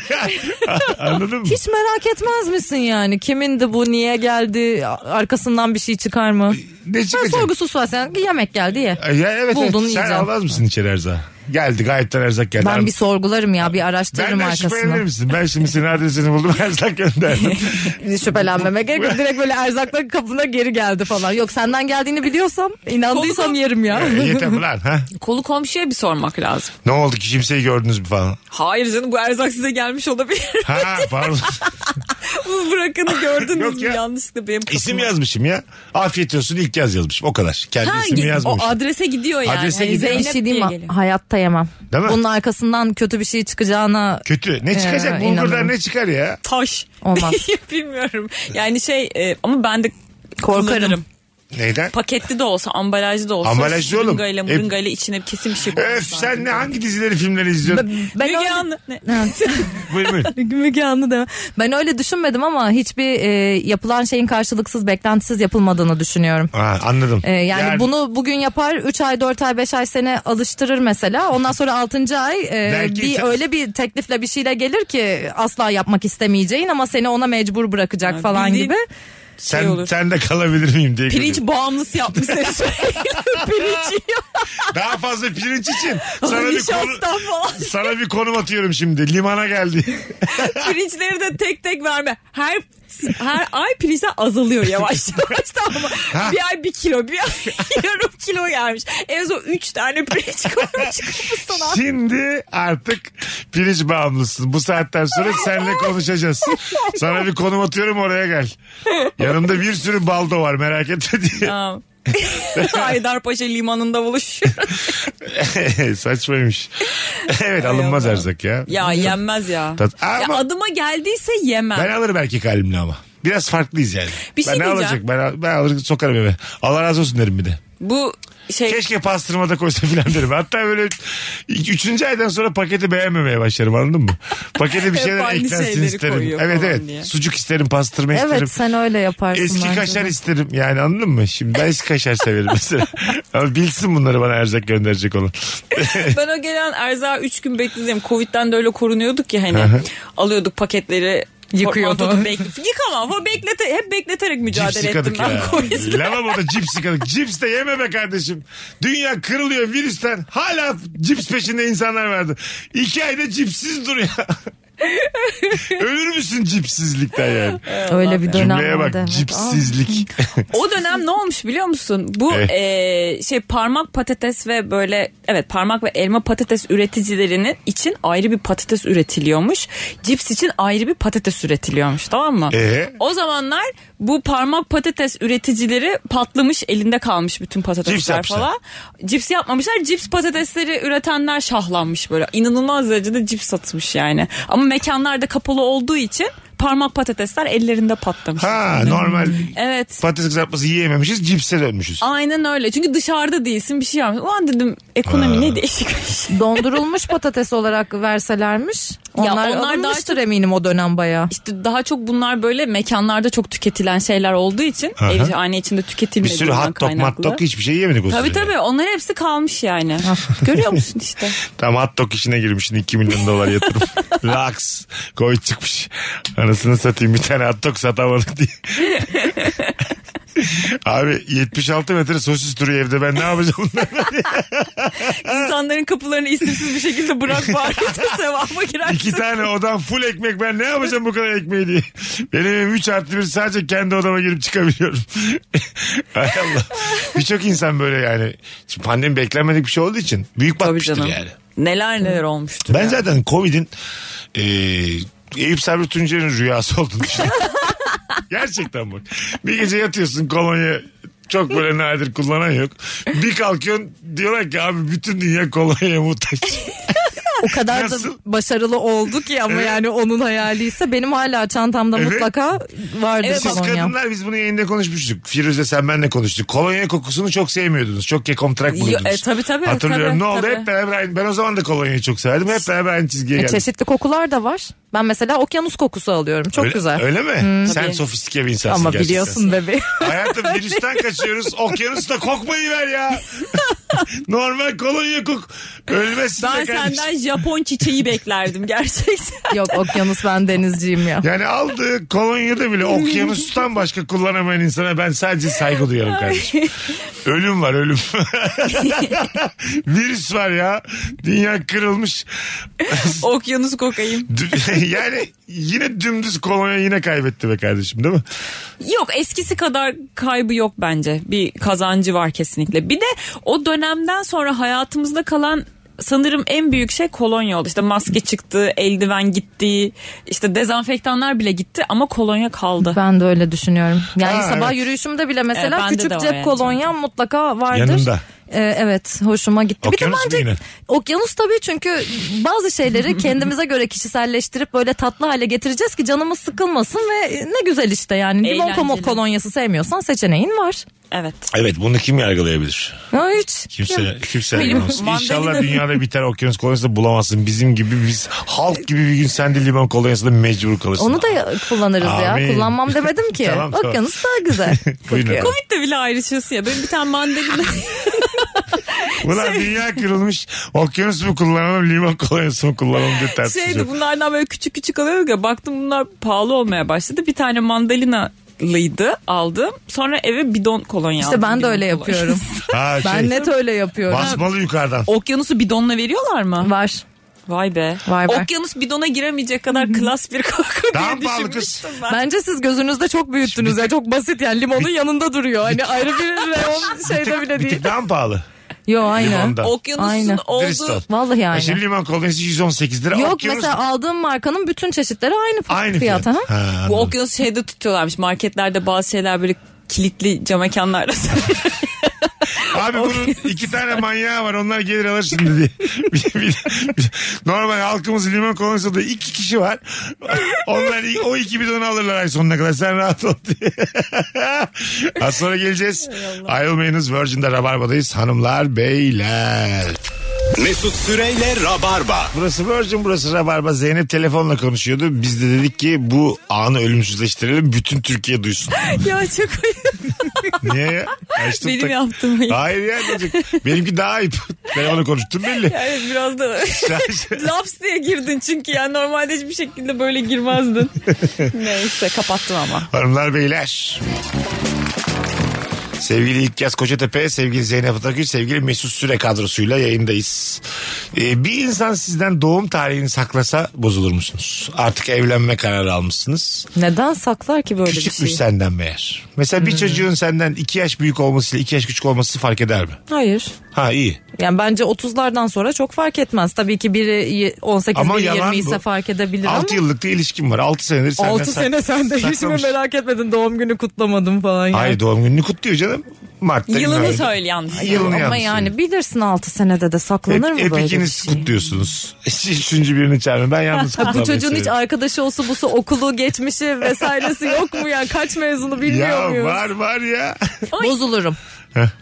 Speaker 3: Anladın mı?
Speaker 5: Hiç merak etmez misin yani? Kimindi bu? Niye geldi? Arkasından bir şey çıkar mı?
Speaker 3: Ne
Speaker 5: Ben
Speaker 3: çıkacak?
Speaker 5: sorgusuz sual sen yemek geldi ye.
Speaker 3: Ay, Ya evet,
Speaker 5: Buldun,
Speaker 3: evet. sen
Speaker 5: yiyeceğim.
Speaker 3: almaz mısın içeri erzağı? Geldi gayetten erzak geldi.
Speaker 5: Ben bir sorgularım ya bir araştırırım
Speaker 3: Benden şüphelenir
Speaker 5: arkasını.
Speaker 3: misin? Ben şimdi senin adresini buldum erzak gönderdim.
Speaker 5: Şüphelenmeme gerek yok. Direkt böyle erzakların kapına geri geldi falan. Yok senden geldiğini biliyorsam inandıysam
Speaker 4: Kolu-
Speaker 5: yerim ya.
Speaker 3: E, Yeter mi lan? Ha?
Speaker 4: Kolu komşuya bir sormak lazım.
Speaker 3: Ne oldu ki kimseyi gördünüz mü falan?
Speaker 4: Hayır canım bu erzak size gelmiş olabilir.
Speaker 3: Ha pardon.
Speaker 4: bu bırakanı gördünüz
Speaker 3: Yok
Speaker 4: mü
Speaker 3: ya.
Speaker 4: yanlışlıkla benim kapıma.
Speaker 3: İsim yazmışım ya. Afiyet olsun ilk yaz yazmışım. O kadar. Kendi
Speaker 4: Ha,
Speaker 3: ismimi
Speaker 4: git- o
Speaker 3: yazmamışım.
Speaker 4: adrese gidiyor yani.
Speaker 3: Adrese
Speaker 4: Hani
Speaker 3: gidiyor.
Speaker 5: Bir
Speaker 4: Zeynep
Speaker 5: şey diyeyim
Speaker 4: diye
Speaker 5: mi?
Speaker 4: geliyor.
Speaker 5: Hayatta yemem.
Speaker 3: Değil mi?
Speaker 5: Bunun arkasından kötü bir şey çıkacağına
Speaker 3: Kötü. Ne çıkacak?
Speaker 5: Ee,
Speaker 3: Bulgur'dan
Speaker 5: inanırım.
Speaker 3: ne çıkar ya?
Speaker 4: Taş.
Speaker 5: Olmaz.
Speaker 4: Bilmiyorum. Yani şey e, ama ben de
Speaker 5: Korkarım.
Speaker 4: kullanırım.
Speaker 3: Neyden?
Speaker 4: Paketli de olsa, ambalajlı da olsa.
Speaker 3: Ambalajlı oğlum.
Speaker 4: şırıngayla,
Speaker 3: E-
Speaker 4: mırıngayla içine kesin bir şey buluruz
Speaker 3: Öf sen
Speaker 4: zaten.
Speaker 3: ne hangi dizileri filmleri izliyorsun?
Speaker 5: ben
Speaker 4: Müge
Speaker 5: öyle-
Speaker 4: Anlı. Ne? şey
Speaker 5: Evet.
Speaker 3: buyur buyur.
Speaker 5: Müge Anlı deme. Ben öyle düşünmedim ama hiçbir e, yapılan şeyin karşılıksız, beklentisiz yapılmadığını düşünüyorum.
Speaker 3: Ha, anladım.
Speaker 5: Ee, yani, bunu bugün yapar 3 ay 4 ay 5 ay sene alıştırır mesela. Ondan sonra 6. ay e,
Speaker 3: Belki
Speaker 5: bir
Speaker 3: sen-
Speaker 5: öyle bir teklifle bir şeyle gelir ki asla yapmak istemeyeceğin ama seni ona mecbur bırakacak
Speaker 4: Ha,
Speaker 5: falan
Speaker 4: bildiğin-
Speaker 5: gibi.
Speaker 3: sen,
Speaker 4: şey olur.
Speaker 3: sen de kalabilir miyim diye.
Speaker 4: Pirinç
Speaker 3: gülüyorum.
Speaker 4: bağımlısı yapmış seni sürekli. Pirinç yiyor.
Speaker 3: Daha fazla pirinç için. Sana bir konu...
Speaker 4: Nişastan falan.
Speaker 3: Sana bir konum atıyorum şimdi. Limana geldi.
Speaker 4: Pirinçleri de tek tek verme. Her her ay pirinçler azalıyor yavaş yavaş tamam mı? Bir ay bir kilo, bir ay yarım kilo gelmiş. En son üç tane pirinç koymuş kapısına.
Speaker 3: Şimdi artık pirinç bağımlısın. Bu saatten sonra seninle konuşacağız. Sana bir konum atıyorum oraya gel. Yanımda bir sürü baldo var merak etme diye.
Speaker 4: Tamam. Haydarpaşa limanında buluşuyoruz.
Speaker 3: Saçmaymış. evet alınmaz
Speaker 4: Allah.
Speaker 3: erzak ya.
Speaker 4: Ya yenmez ya.
Speaker 3: Tat-
Speaker 4: ya
Speaker 3: Ama-
Speaker 4: adıma geldiyse yemem.
Speaker 3: Ben alırım erkek halimle ama. Biraz farklıyız yani.
Speaker 4: Bir şey
Speaker 3: ben ne
Speaker 4: diyeceğim.
Speaker 3: alacak? Ben, al- ben alırım sokarım eve. Allah razı olsun derim bir de.
Speaker 4: Bu şey
Speaker 3: Keşke pastırmada koysa filan derim. Hatta böyle ilk- üçüncü aydan sonra paketi beğenmemeye başlarım anladın mı? Pakete bir
Speaker 4: Hep
Speaker 3: şeyler
Speaker 4: aynı
Speaker 3: eklensin
Speaker 4: şeyleri
Speaker 3: isterim.
Speaker 4: koyuyor
Speaker 3: Evet
Speaker 4: falan
Speaker 3: evet.
Speaker 4: diye.
Speaker 3: Sucuk isterim, pastırma isterim.
Speaker 5: Evet sen öyle yaparsın.
Speaker 3: Eski
Speaker 5: bence.
Speaker 3: kaşar isterim yani anladın mı? Şimdi ben eski kaşar severim mesela. Ama bilsin bunları bana erzak gönderecek olan.
Speaker 4: ben o gelen erzağı 3 gün bekleyeceğim. Covid'den de öyle korunuyorduk ya hani. Alıyorduk paketleri.
Speaker 5: Yıkıyor
Speaker 4: portmantoda
Speaker 5: falan.
Speaker 4: bekle- Yıkamam falan. Beklete, hep bekleterek
Speaker 3: Cips
Speaker 4: mücadele ettim
Speaker 3: yıkadık
Speaker 4: ben
Speaker 3: ya.
Speaker 4: Covid'le.
Speaker 3: Lavaboda cips yıkadık. Cips de yeme be kardeşim. Dünya kırılıyor virüsten. Hala cips peşinde insanlar vardı. İki ayda cipsiz dur ya. Ölür müsün cipsizlikten yani?
Speaker 5: Öyle bir dönem
Speaker 3: Cümleye bak
Speaker 5: vardı, evet.
Speaker 3: cipsizlik.
Speaker 4: O dönem ne olmuş biliyor musun? Bu
Speaker 3: Evet.
Speaker 4: eee, şey parmak patates ve böyle evet parmak ve elma patates üreticilerinin için ayrı bir patates üretiliyormuş. Cips için ayrı bir patates üretiliyormuş tamam mı?
Speaker 3: Ee?
Speaker 4: O zamanlar bu parmak patates üreticileri patlamış elinde kalmış bütün
Speaker 3: Cips
Speaker 4: patatesler
Speaker 3: yapmışlar.
Speaker 4: falan. Cips yapmamışlar. Cips patatesleri üretenler şahlanmış böyle. İnanılmaz derecede cips satmış yani. Ama mekanlar da kapalı olduğu için parmak patatesler ellerinde patlamış.
Speaker 3: Ha normal
Speaker 4: Evet.
Speaker 3: patates kızartması yiyememişiz cipse dönmüşüz.
Speaker 4: Aynen öyle. Çünkü dışarıda değilsin bir şey yapmıyorsun. Ulan dedim ekonomi ne değişik bir şey.
Speaker 5: Dondurulmuş patates olarak verselermiş. Onlar,
Speaker 4: onlar daha
Speaker 5: alınmıştır eminim o dönem bayağı.
Speaker 4: İşte daha çok bunlar böyle mekanlarda çok tüketilen şeyler olduğu için
Speaker 3: Aha.
Speaker 4: ev hane içinde
Speaker 3: Bir
Speaker 4: tüketilmediğinden
Speaker 3: sürü hot dog
Speaker 4: kaynaklı.
Speaker 3: mat dog hiçbir şey yemedik o
Speaker 4: Tabii
Speaker 3: sürede.
Speaker 4: tabii onların hepsi kalmış yani. Görüyor musun işte.
Speaker 3: Tam hot dog işine girmişsin 2 milyon dolar yatırım. Laks. Koy çıkmış. Anasını satayım bir tane hot dog satamadık diye. Abi 76 metre sosis duruyor evde ben ne yapacağım bunları? Ee,
Speaker 4: İnsanların kapılarını isimsiz bir şekilde bırak bari de sevaba girersin.
Speaker 3: İki tane odam full ekmek ben ne yapacağım bu kadar ekmeği diye. Benim evim 3 artı 1 sadece kendi odama girip çıkabiliyorum. Hay Allah. Birçok insan böyle yani. Şimdi pandemi beklenmedik bir şey olduğu için büyük
Speaker 4: Tabii
Speaker 3: batmıştır
Speaker 4: canım.
Speaker 3: yani.
Speaker 4: Neler neler olmuştu.
Speaker 3: Ben zaten Covid'in e, Eyüp Sabri Tuncer'in rüyası olduğunu düşünüyorum. Gerçekten bak. Bir gece yatıyorsun kolonya çok böyle nadir kullanan yok. Bir kalkıyorsun diyorlar ki abi bütün dünya kolonyaya muhtaç.
Speaker 5: O kadar da
Speaker 3: Nasıl?
Speaker 5: başarılı olduk ya ama yani onun hayaliyse benim hala çantamda
Speaker 3: Evet.
Speaker 5: mutlaka vardır
Speaker 4: Evet,
Speaker 3: Siz
Speaker 5: kolonya.
Speaker 3: kadınlar biz bunu yayında konuşmuştuk. Firuze sen benle konuştuk. Kolonya kokusunu çok sevmiyordunuz. Çok kekomtrak buluyordunuz.
Speaker 4: Yo, e, tabii, tabii,
Speaker 3: Hatırlıyorum
Speaker 4: tabii,
Speaker 3: ne oldu
Speaker 4: tabii.
Speaker 3: hep beraber aynı. Ben o zaman da kolonyayı çok severdim. Hep beraber aynı çizgiye
Speaker 5: E,
Speaker 3: geldik.
Speaker 5: çeşitli kokular da var. Ben mesela okyanus kokusu alıyorum. Çok
Speaker 3: öyle,
Speaker 5: güzel.
Speaker 3: Öyle mi? sen
Speaker 4: Hmm, Tabii.
Speaker 3: sofistike bir insansın
Speaker 5: ama
Speaker 3: gerçekten.
Speaker 5: biliyorsun bebeğim.
Speaker 3: Hayatım virüsten kaçıyoruz. Okyanusta kokmayı ver ya. Normal kolonya kok. Ölmezsin
Speaker 4: Ben
Speaker 3: de kardeşim.
Speaker 4: senden Japon çiçeği beklerdim gerçekten.
Speaker 5: Yok okyanus ben denizciyim ya.
Speaker 3: Yani aldığı kolonyada bile okyanustan başka kullanamayan insana ben sadece saygı duyarım kardeşim. Ölüm var ölüm. Virüs var ya. Dünya kırılmış.
Speaker 4: Okyanus kokayım.
Speaker 3: Dü- yani yine dümdüz kolonya yine kaybetti be kardeşim değil mi?
Speaker 4: Yok eskisi kadar kaybı yok bence. Bir kazancı var kesinlikle. Bir de o dönemden sonra hayatımızda kalan sanırım en büyük şey kolonya oldu. İşte maske çıktı, eldiven gitti, işte dezenfektanlar bile gitti ama kolonya kaldı.
Speaker 5: Ben de öyle düşünüyorum. Yani
Speaker 3: Ha,
Speaker 5: sabah
Speaker 3: evet.
Speaker 5: yürüyüşümde bile mesela
Speaker 4: Evet, bende
Speaker 5: küçük
Speaker 4: de var
Speaker 5: cep
Speaker 4: yani
Speaker 5: kolonyam mutlaka vardır.
Speaker 3: Yanında.
Speaker 5: E, evet hoşuma gitti.
Speaker 3: Okyanus mu
Speaker 5: bir de bence
Speaker 3: yine?
Speaker 5: okyanus tabii çünkü bazı şeyleri kendimize göre kişiselleştirip böyle tatlı hale getireceğiz ki canımız sıkılmasın ve ne güzel işte yani. Limon
Speaker 4: Eğlenceli.
Speaker 5: komo- kolonyası sevmiyorsan seçeneğin var.
Speaker 4: Evet.
Speaker 3: Evet bunu kim yargılayabilir?
Speaker 5: Ha, hiç.
Speaker 3: Kimse, kimse
Speaker 4: Benim
Speaker 3: yargılamaz.
Speaker 4: mandalina-
Speaker 3: İnşallah dünyada biter okyanus kolonyası da bulamazsın. Bizim gibi biz halk gibi bir gün sen de limon kolonyasında mecbur kalırsın.
Speaker 5: Onu da ya- kullanırız
Speaker 3: Amin.
Speaker 5: ya. Kullanmam demedim ki.
Speaker 3: Tamam, tamam.
Speaker 5: Okyanus daha güzel.
Speaker 3: Buyurun.
Speaker 5: kokuyor.
Speaker 4: Covid de bile ayrışıyorsun ya. Benim bir tane mandalina
Speaker 3: Ulan
Speaker 5: Şey-
Speaker 3: dünya kırılmış. Okyanus mu kullanalım, limon kolonyası mı kullanalım
Speaker 5: Şey
Speaker 3: diye tartışıyor.
Speaker 4: şeydi bunlardan böyle küçük küçük alıyorum ya baktım bunlar pahalı olmaya başladı. Bir tane mandalinalıydı aldım. Sonra eve bidon kolonya aldım.
Speaker 5: İşte ben de
Speaker 4: Bidon
Speaker 5: öyle
Speaker 4: kolonya.
Speaker 5: yapıyorum.
Speaker 3: Ha, şey,
Speaker 5: ben net öyle yapıyorum.
Speaker 3: Basmalı yukarıdan.
Speaker 4: Okyanusu bidonla veriyorlar mı?
Speaker 5: Var.
Speaker 4: Vay be.
Speaker 5: Vay be.
Speaker 4: Okyanus bidona giremeyecek kadar klas bir koku
Speaker 3: Daha
Speaker 4: diye
Speaker 3: pahalı kız.
Speaker 4: düşünmüştüm ben.
Speaker 5: Bence siz gözünüzde çok büyüttünüz ya. Çok basit yani limonun yanında duruyor. Hani ayrı bir reyon şeyde bile
Speaker 3: Bir
Speaker 5: değil.
Speaker 3: tık daha mı pahalı?
Speaker 5: Yo aynen.
Speaker 3: Limondan.
Speaker 4: Okyanusun
Speaker 5: Aynen.
Speaker 3: Dürüst ol.
Speaker 4: olduğu...
Speaker 5: Vallahi
Speaker 3: E Şimdi
Speaker 5: aynen.
Speaker 3: limon kolonyası 118 lira.
Speaker 5: Yok
Speaker 3: okyanus
Speaker 5: mesela aldığım markanın bütün çeşitleri aynı,
Speaker 3: aynı
Speaker 5: fiyat.
Speaker 3: fiyat. Ha,
Speaker 5: ha.
Speaker 3: anladım.
Speaker 4: Bu okyanus şeyde tutuyorlarmış. Marketlerde bazı şeyler böyle kilitli cam mekanlarda.
Speaker 3: Abi bunun iki tane manyağı var onlar gelir alır şimdi diye. Bir- bir- bir- Normal halkımız limon kolonyasında iki kişi var. Onlar i- o iki bidonu alırlar ay sonuna kadar sen rahat ol diye. Az sonra geleceğiz. Ayrılmayınız Virgin'de Rabarba'dayız hanımlar beyler.
Speaker 2: Mesut Süreyle Rabarba.
Speaker 3: Burası Virgin burası Rabarba. Zeynep telefonla konuşuyordu. Biz de dedik ki bu anı ölümsüzleştirelim bütün Türkiye duysun.
Speaker 4: ya çok ayıp.
Speaker 3: Niye ya? Açtım
Speaker 4: Benim
Speaker 3: tak-
Speaker 4: yaptığım ayıp.
Speaker 3: Hayır ya çocuk. Benimki daha ayıp. Ben onu konuştum belli.
Speaker 4: Evet biraz da laps diye girdin çünkü ya. Normalde hiçbir şekilde böyle girmezdin. Neyse kapattım ama.
Speaker 3: Hanımlar beyler. Sevgili İlkyaz Kocatepe, sevgili Zeynep Atakül, sevgili Mesut Süre kadrosuyla yayındayız. Ee, bir insan sizden doğum tarihini saklasa bozulur musunuz? Artık evlenme kararı almışsınız.
Speaker 5: Neden saklar ki böyle bir şey? Hmm.
Speaker 3: Küçükmüş
Speaker 5: şeyi?
Speaker 3: senden meğer. Mesela bir çocuğun senden iki yaş büyük olmasıyla iki yaş küçük olması fark eder mi?
Speaker 5: Hayır.
Speaker 3: Ha iyi.
Speaker 5: Yani bence 30'lardan sonra çok fark etmez. Tabii ki biri 18
Speaker 3: Ama
Speaker 5: biri
Speaker 3: yalan
Speaker 5: 20 ise
Speaker 3: bu.
Speaker 5: fark edebilir ama.
Speaker 3: 6 yıllık da ilişkim var. 6 senedir senden
Speaker 5: 6
Speaker 3: sak-
Speaker 5: sene sen de hiç mi
Speaker 3: saklamış.
Speaker 5: merak etmedin doğum günü kutlamadım falan ya.
Speaker 3: Hayır doğum gününü kutluyor canım. Mart'ta.
Speaker 4: Yılını
Speaker 3: bilmem-
Speaker 4: söyle yalnız.
Speaker 3: Yılını E, yalnız
Speaker 5: Ama
Speaker 3: söyle.
Speaker 5: yani bilirsin 6 senede de saklanır
Speaker 3: Hep,
Speaker 5: mı
Speaker 3: hep
Speaker 5: böyle bir
Speaker 3: ikiniz
Speaker 5: şey?
Speaker 3: kutluyorsunuz. Üçüncü birini çağırın. Ben yalnız
Speaker 5: Ha,
Speaker 3: kutlamayı
Speaker 5: bu çocuğun hiç
Speaker 3: seviyorum.
Speaker 5: arkadaşı olsa busu okulu geçmişi vesairesi yok mu yani kaç mezunu bilmiyor
Speaker 3: Ya
Speaker 5: muyuz?
Speaker 3: var var ya.
Speaker 5: Bozulurum.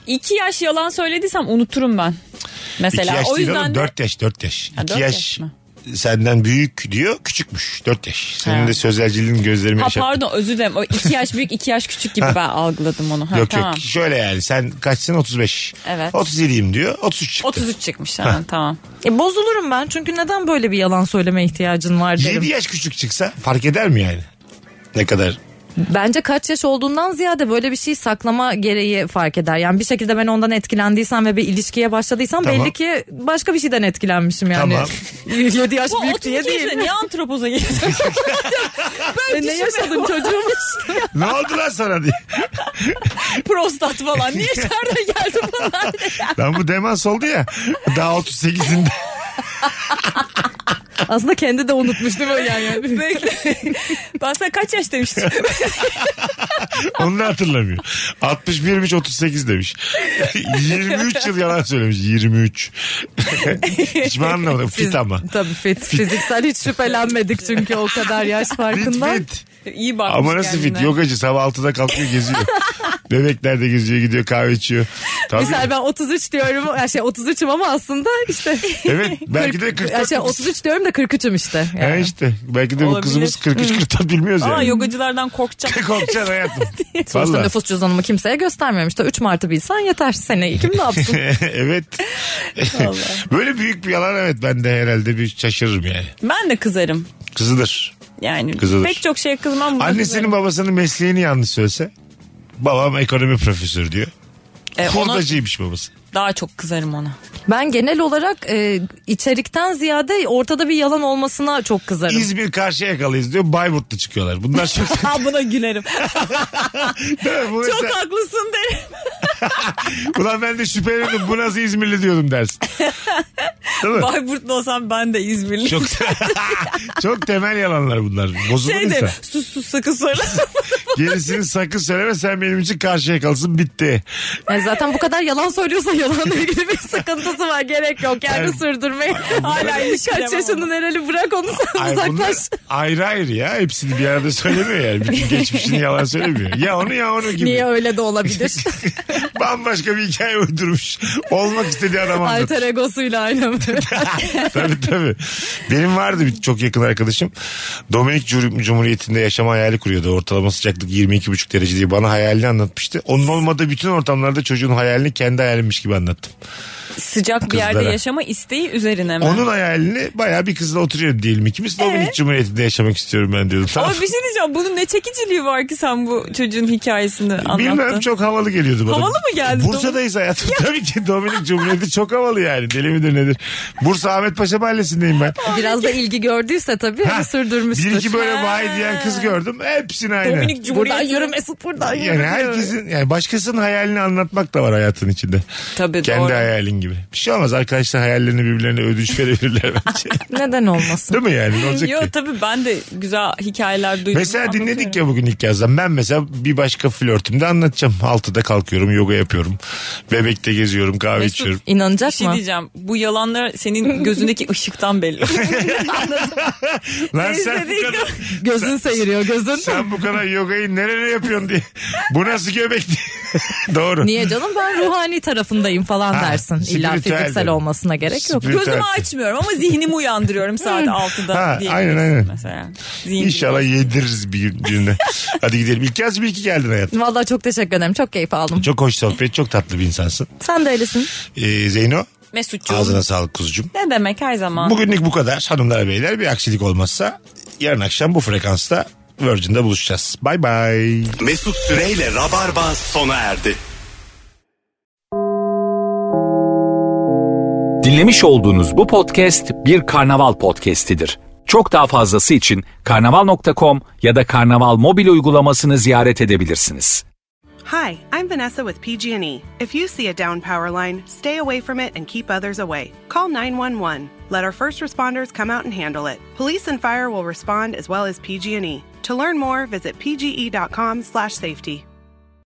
Speaker 4: İki yaş yalan söylediysem unuturum ben.
Speaker 3: İki
Speaker 4: Mesela
Speaker 3: yaş
Speaker 4: o
Speaker 3: değil
Speaker 4: yüzden
Speaker 3: oğlum.
Speaker 4: de...
Speaker 3: Dört yaş dört yaş.
Speaker 4: Ha,
Speaker 3: İki
Speaker 4: dört
Speaker 3: yaş.
Speaker 4: yaş mı?
Speaker 3: senden büyük diyor küçükmüş 4 yaş. Senin
Speaker 4: Ha.
Speaker 3: de sözelciliğin gözlerime
Speaker 4: Ha
Speaker 3: yaşattı.
Speaker 4: pardon özür dilerim. O iki yaş büyük iki yaş küçük gibi ben algıladım onu. Ha,
Speaker 3: Yok
Speaker 4: tamam.
Speaker 3: yok şöyle yani sen kaçsın 35.
Speaker 4: Evet.
Speaker 3: 37'yim diyor 33 çıktı.
Speaker 4: 33 çıkmış hemen tamam.
Speaker 5: E, bozulurum ben çünkü neden böyle bir yalan söyleme ihtiyacın var derim.
Speaker 3: 7 yaş küçük çıksa fark eder mi yani? Ne kadar?
Speaker 5: Bence kaç yaş olduğundan ziyade böyle bir şey saklama gereği fark eder. Yani bir şekilde ben ondan etkilendiysem ve bir ilişkiye başladıysam
Speaker 3: Tamam.
Speaker 5: belli ki başka bir şeyden etkilenmişim yani.
Speaker 3: Tamam.
Speaker 5: 7 yaş
Speaker 4: Bu
Speaker 5: büyük
Speaker 4: 32
Speaker 5: diye değil.
Speaker 4: yaşında niye antropoza girdin?
Speaker 5: E, ne yaşadın çocuğum işte.
Speaker 3: ne oldu lan sana diye.
Speaker 4: Prostat falan. Niye nereden geldi bunlar?
Speaker 3: Lan bu demans oldu ya. Daha 38'inde.
Speaker 5: Aslında kendi de unutmuş değil mi? Yani.
Speaker 4: Bekle. Ben sana kaç yaş demiştim?
Speaker 3: Onu da hatırlamıyor. 61'miş 38 demiş. 23 yıl yalan söylemiş. 23. Hiç mi anlamadım? Fit ama.
Speaker 5: Tabii fit. Fiziksel hiç şüphelenmedik çünkü o kadar yaş
Speaker 3: Fit
Speaker 5: farkından.
Speaker 3: fit.
Speaker 4: İyi bakmış
Speaker 3: Ama nasıl fit?
Speaker 4: kendine.
Speaker 3: Yogacı sabah 6'da kalkıyor geziyor. Bebekler de geziyor gidiyor kahve içiyor. Tabii.
Speaker 5: Misal ben 33 diyorum. Ya şey 33'üm ama aslında işte.
Speaker 3: Evet belki de 44.
Speaker 5: Ya şey 33 diyorum da 43'üm işte.
Speaker 3: Ha
Speaker 5: Yani.
Speaker 3: işte belki de bu
Speaker 4: Olabilir.
Speaker 3: kızımız 43 44 bilmiyoruz yani.
Speaker 4: Aa yogacılardan korkacağım.
Speaker 3: Korkacaksın hayatım.
Speaker 5: Sonuçta
Speaker 3: Vallahi.
Speaker 5: nüfus cüzdanımı kimseye göstermemiş. Da 3 Mart'ı bilsen yeter. Seneyi kim ne yapsın?
Speaker 3: evet. Böyle büyük bir yalan evet ben de herhalde bir şaşırırım yani.
Speaker 4: Ben de kızarım.
Speaker 3: Kızıdır.
Speaker 4: Yani
Speaker 3: Kızılır.
Speaker 4: pek çok şeye kızmam. buna
Speaker 3: Annesinin
Speaker 4: kızarım.
Speaker 3: babasının mesleğini yanlış söylese. Babam ekonomi profesörü diyor.
Speaker 4: Ee, ona
Speaker 3: Hurdacıymış babası.
Speaker 4: daha çok kızarım ona.
Speaker 5: Ben genel olarak e, içerikten ziyade ortada bir yalan olmasına çok kızarım.
Speaker 3: İzmir karşı yakalıyız diyor. Bayburtlu çıkıyorlar. Bunlar çok...
Speaker 4: Ha buna gülerim.
Speaker 3: Değil mi? Bu
Speaker 4: çok
Speaker 3: mesela-
Speaker 4: haklısın derim.
Speaker 3: Ulan ben de şüphelendim. Bu nasıl İzmirli diyordum dersin. Değil mi?
Speaker 4: Bayburtlu olsam ben de İzmirli.
Speaker 3: Çok, çok temel yalanlar bunlar. Bozulur
Speaker 4: şey derim.
Speaker 3: insan.
Speaker 4: Sus sus sakın söyle.
Speaker 3: Gerisini sakın söyleme sen benim için karşıya kalsın bitti.
Speaker 5: Yani E, zaten bu kadar yalan söylüyorsa yalanla ilgili bir sıkıntısı var. Gerek yok yani
Speaker 3: Yani-
Speaker 5: sürdürmeyi.
Speaker 4: Hala
Speaker 5: Hala
Speaker 4: ilişkilemem
Speaker 5: kaç
Speaker 4: ama.
Speaker 5: yaşının herhalde bırak onu sen
Speaker 3: Ay
Speaker 5: uzaklaş.
Speaker 3: bunlar ayrı ayrı ya. Hepsini bir arada söylemiyor yani. Bütün geçmişini yalan söylemiyor. Ya onu ya onu gibi.
Speaker 5: Niye öyle de olabilir?
Speaker 3: Bambaşka bir hikaye uydurmuş. Olmak istediği adam anlatıyor.
Speaker 5: Alter egosuyla aynı.
Speaker 3: tabii tabii. Benim vardı bir çok yakın arkadaşım. Dominik Cum- Cumhuriyeti'nde yaşama hayali kuruyordu. Ortalama sıcaklık 22,5 derece diye bana hayalini anlatmıştı. Onun olmadığı bütün ortamlarda çocuğun hayalini kendi hayalimmiş gibi anlattım.
Speaker 4: Sıcak bir
Speaker 3: Kızlara.
Speaker 4: yerde yaşama isteği üzerine mi?
Speaker 3: Onun hayalini bayağı bir kızla oturuyorum diyelim ikimiz. Dominik Cumhuriyeti'nde yaşamak istiyorum ben diyordum. Tamam.
Speaker 4: Ama bir şey diyeceğim. Bunun ne çekiciliği var ki sen bu çocuğun hikayesini anlattın?
Speaker 3: Bilmem çok havalı geliyordu bana.
Speaker 4: Havalı mı geldi?
Speaker 3: Bursa'dayız hayatım. Tabii ki Dominik Cumhuriyeti çok havalı yani. Deli midir nedir? Bursa Ahmet Paşa Mahallesi'ndeyim ben.
Speaker 5: Biraz da ilgi gördüyse tabii
Speaker 3: Ha,
Speaker 5: onu sürdürmüştür.
Speaker 3: Bir iki böyle vay diyen kız gördüm. Hepsini aynı.
Speaker 4: Dominik
Speaker 5: Buradan
Speaker 4: Cumhuriyeti.
Speaker 5: yürü Mesut buradan yürü.
Speaker 3: Yani herkesin yani başkasının hayalini anlatmak da var hayatın içinde.
Speaker 4: Tabii
Speaker 3: Kendi
Speaker 4: doğru.
Speaker 3: hayalin gibi. Bir şey olmaz arkadaşlar hayallerini birbirlerine ödünç verebilirler bence.
Speaker 5: Neden olmasın?
Speaker 3: Değil mi yani? Ne olacak ki?
Speaker 4: Yok tabii ben de güzel hikayeler duydum.
Speaker 3: Mesela dinledik
Speaker 4: Anlatıyorum.
Speaker 3: ya bugün ilk yazdan. Ben mesela bir başka flörtümde anlatacağım. Altıda kalkıyorum, yoga yapıyorum. Bebekte geziyorum, kahve
Speaker 4: Mesut,
Speaker 3: içiyorum.
Speaker 5: İnanacak
Speaker 4: Bir şey
Speaker 5: mı?
Speaker 4: diyeceğim. Bu yalanlar senin gözündeki ışıktan belli.
Speaker 3: Lan
Speaker 4: Sen
Speaker 3: sen bu
Speaker 4: istediğin
Speaker 3: kadar,
Speaker 5: Gözün seyiriyor gözün.
Speaker 3: sen bu kadar yogayı nereye yapıyorsun diye. Bu nasıl göbek diye. Doğru.
Speaker 5: Niye canım ben ruhani tarafındayım falan
Speaker 3: Ha,
Speaker 5: dersin. İlla
Speaker 3: spiritüel
Speaker 5: fiziksel
Speaker 3: dedim.
Speaker 5: olmasına gerek yok.
Speaker 3: Spiritüel.
Speaker 4: Gözümü açmıyorum ama zihnimi uyandırıyorum saat 6'da
Speaker 3: Ha,
Speaker 4: diyebilirsin
Speaker 3: aynen, aynen.
Speaker 4: mesela. Zihin
Speaker 3: İnşallah yediririz bir gün- birine. Hadi gidelim. İlk yaz bir iki geldin hayatım.
Speaker 5: Vallahi çok teşekkür ederim. Çok keyif aldım.
Speaker 3: Çok hoş sohbet, çok tatlı bir insansın.
Speaker 5: Sen de öylesin.
Speaker 3: Ee, Zeyno,
Speaker 4: Mesutcuğum.
Speaker 3: ağzına sağlık kuzucuğum.
Speaker 4: Ne demek her zaman.
Speaker 3: Bugünlük bu kadar hanımlar beyler. Bir aksilik olmazsa yarın akşam bu frekansta Virgin'de buluşacağız. Bay bay.
Speaker 2: Mesut Süreyle Rabarba sona erdi.
Speaker 1: Dinlemiş olduğunuz bu podcast bir karnaval podcastidir. Çok daha fazlası için karnaval.com ya da karnaval mobil uygulamasını ziyaret edebilirsiniz.
Speaker 9: Hi, I'm Vanessa with PG&E. If you see a down power line, stay away from it and keep others away. Call 911. Let our first responders come out and handle it. Police and fire will respond as well as PG&E. To learn more, visit pge.com/safety.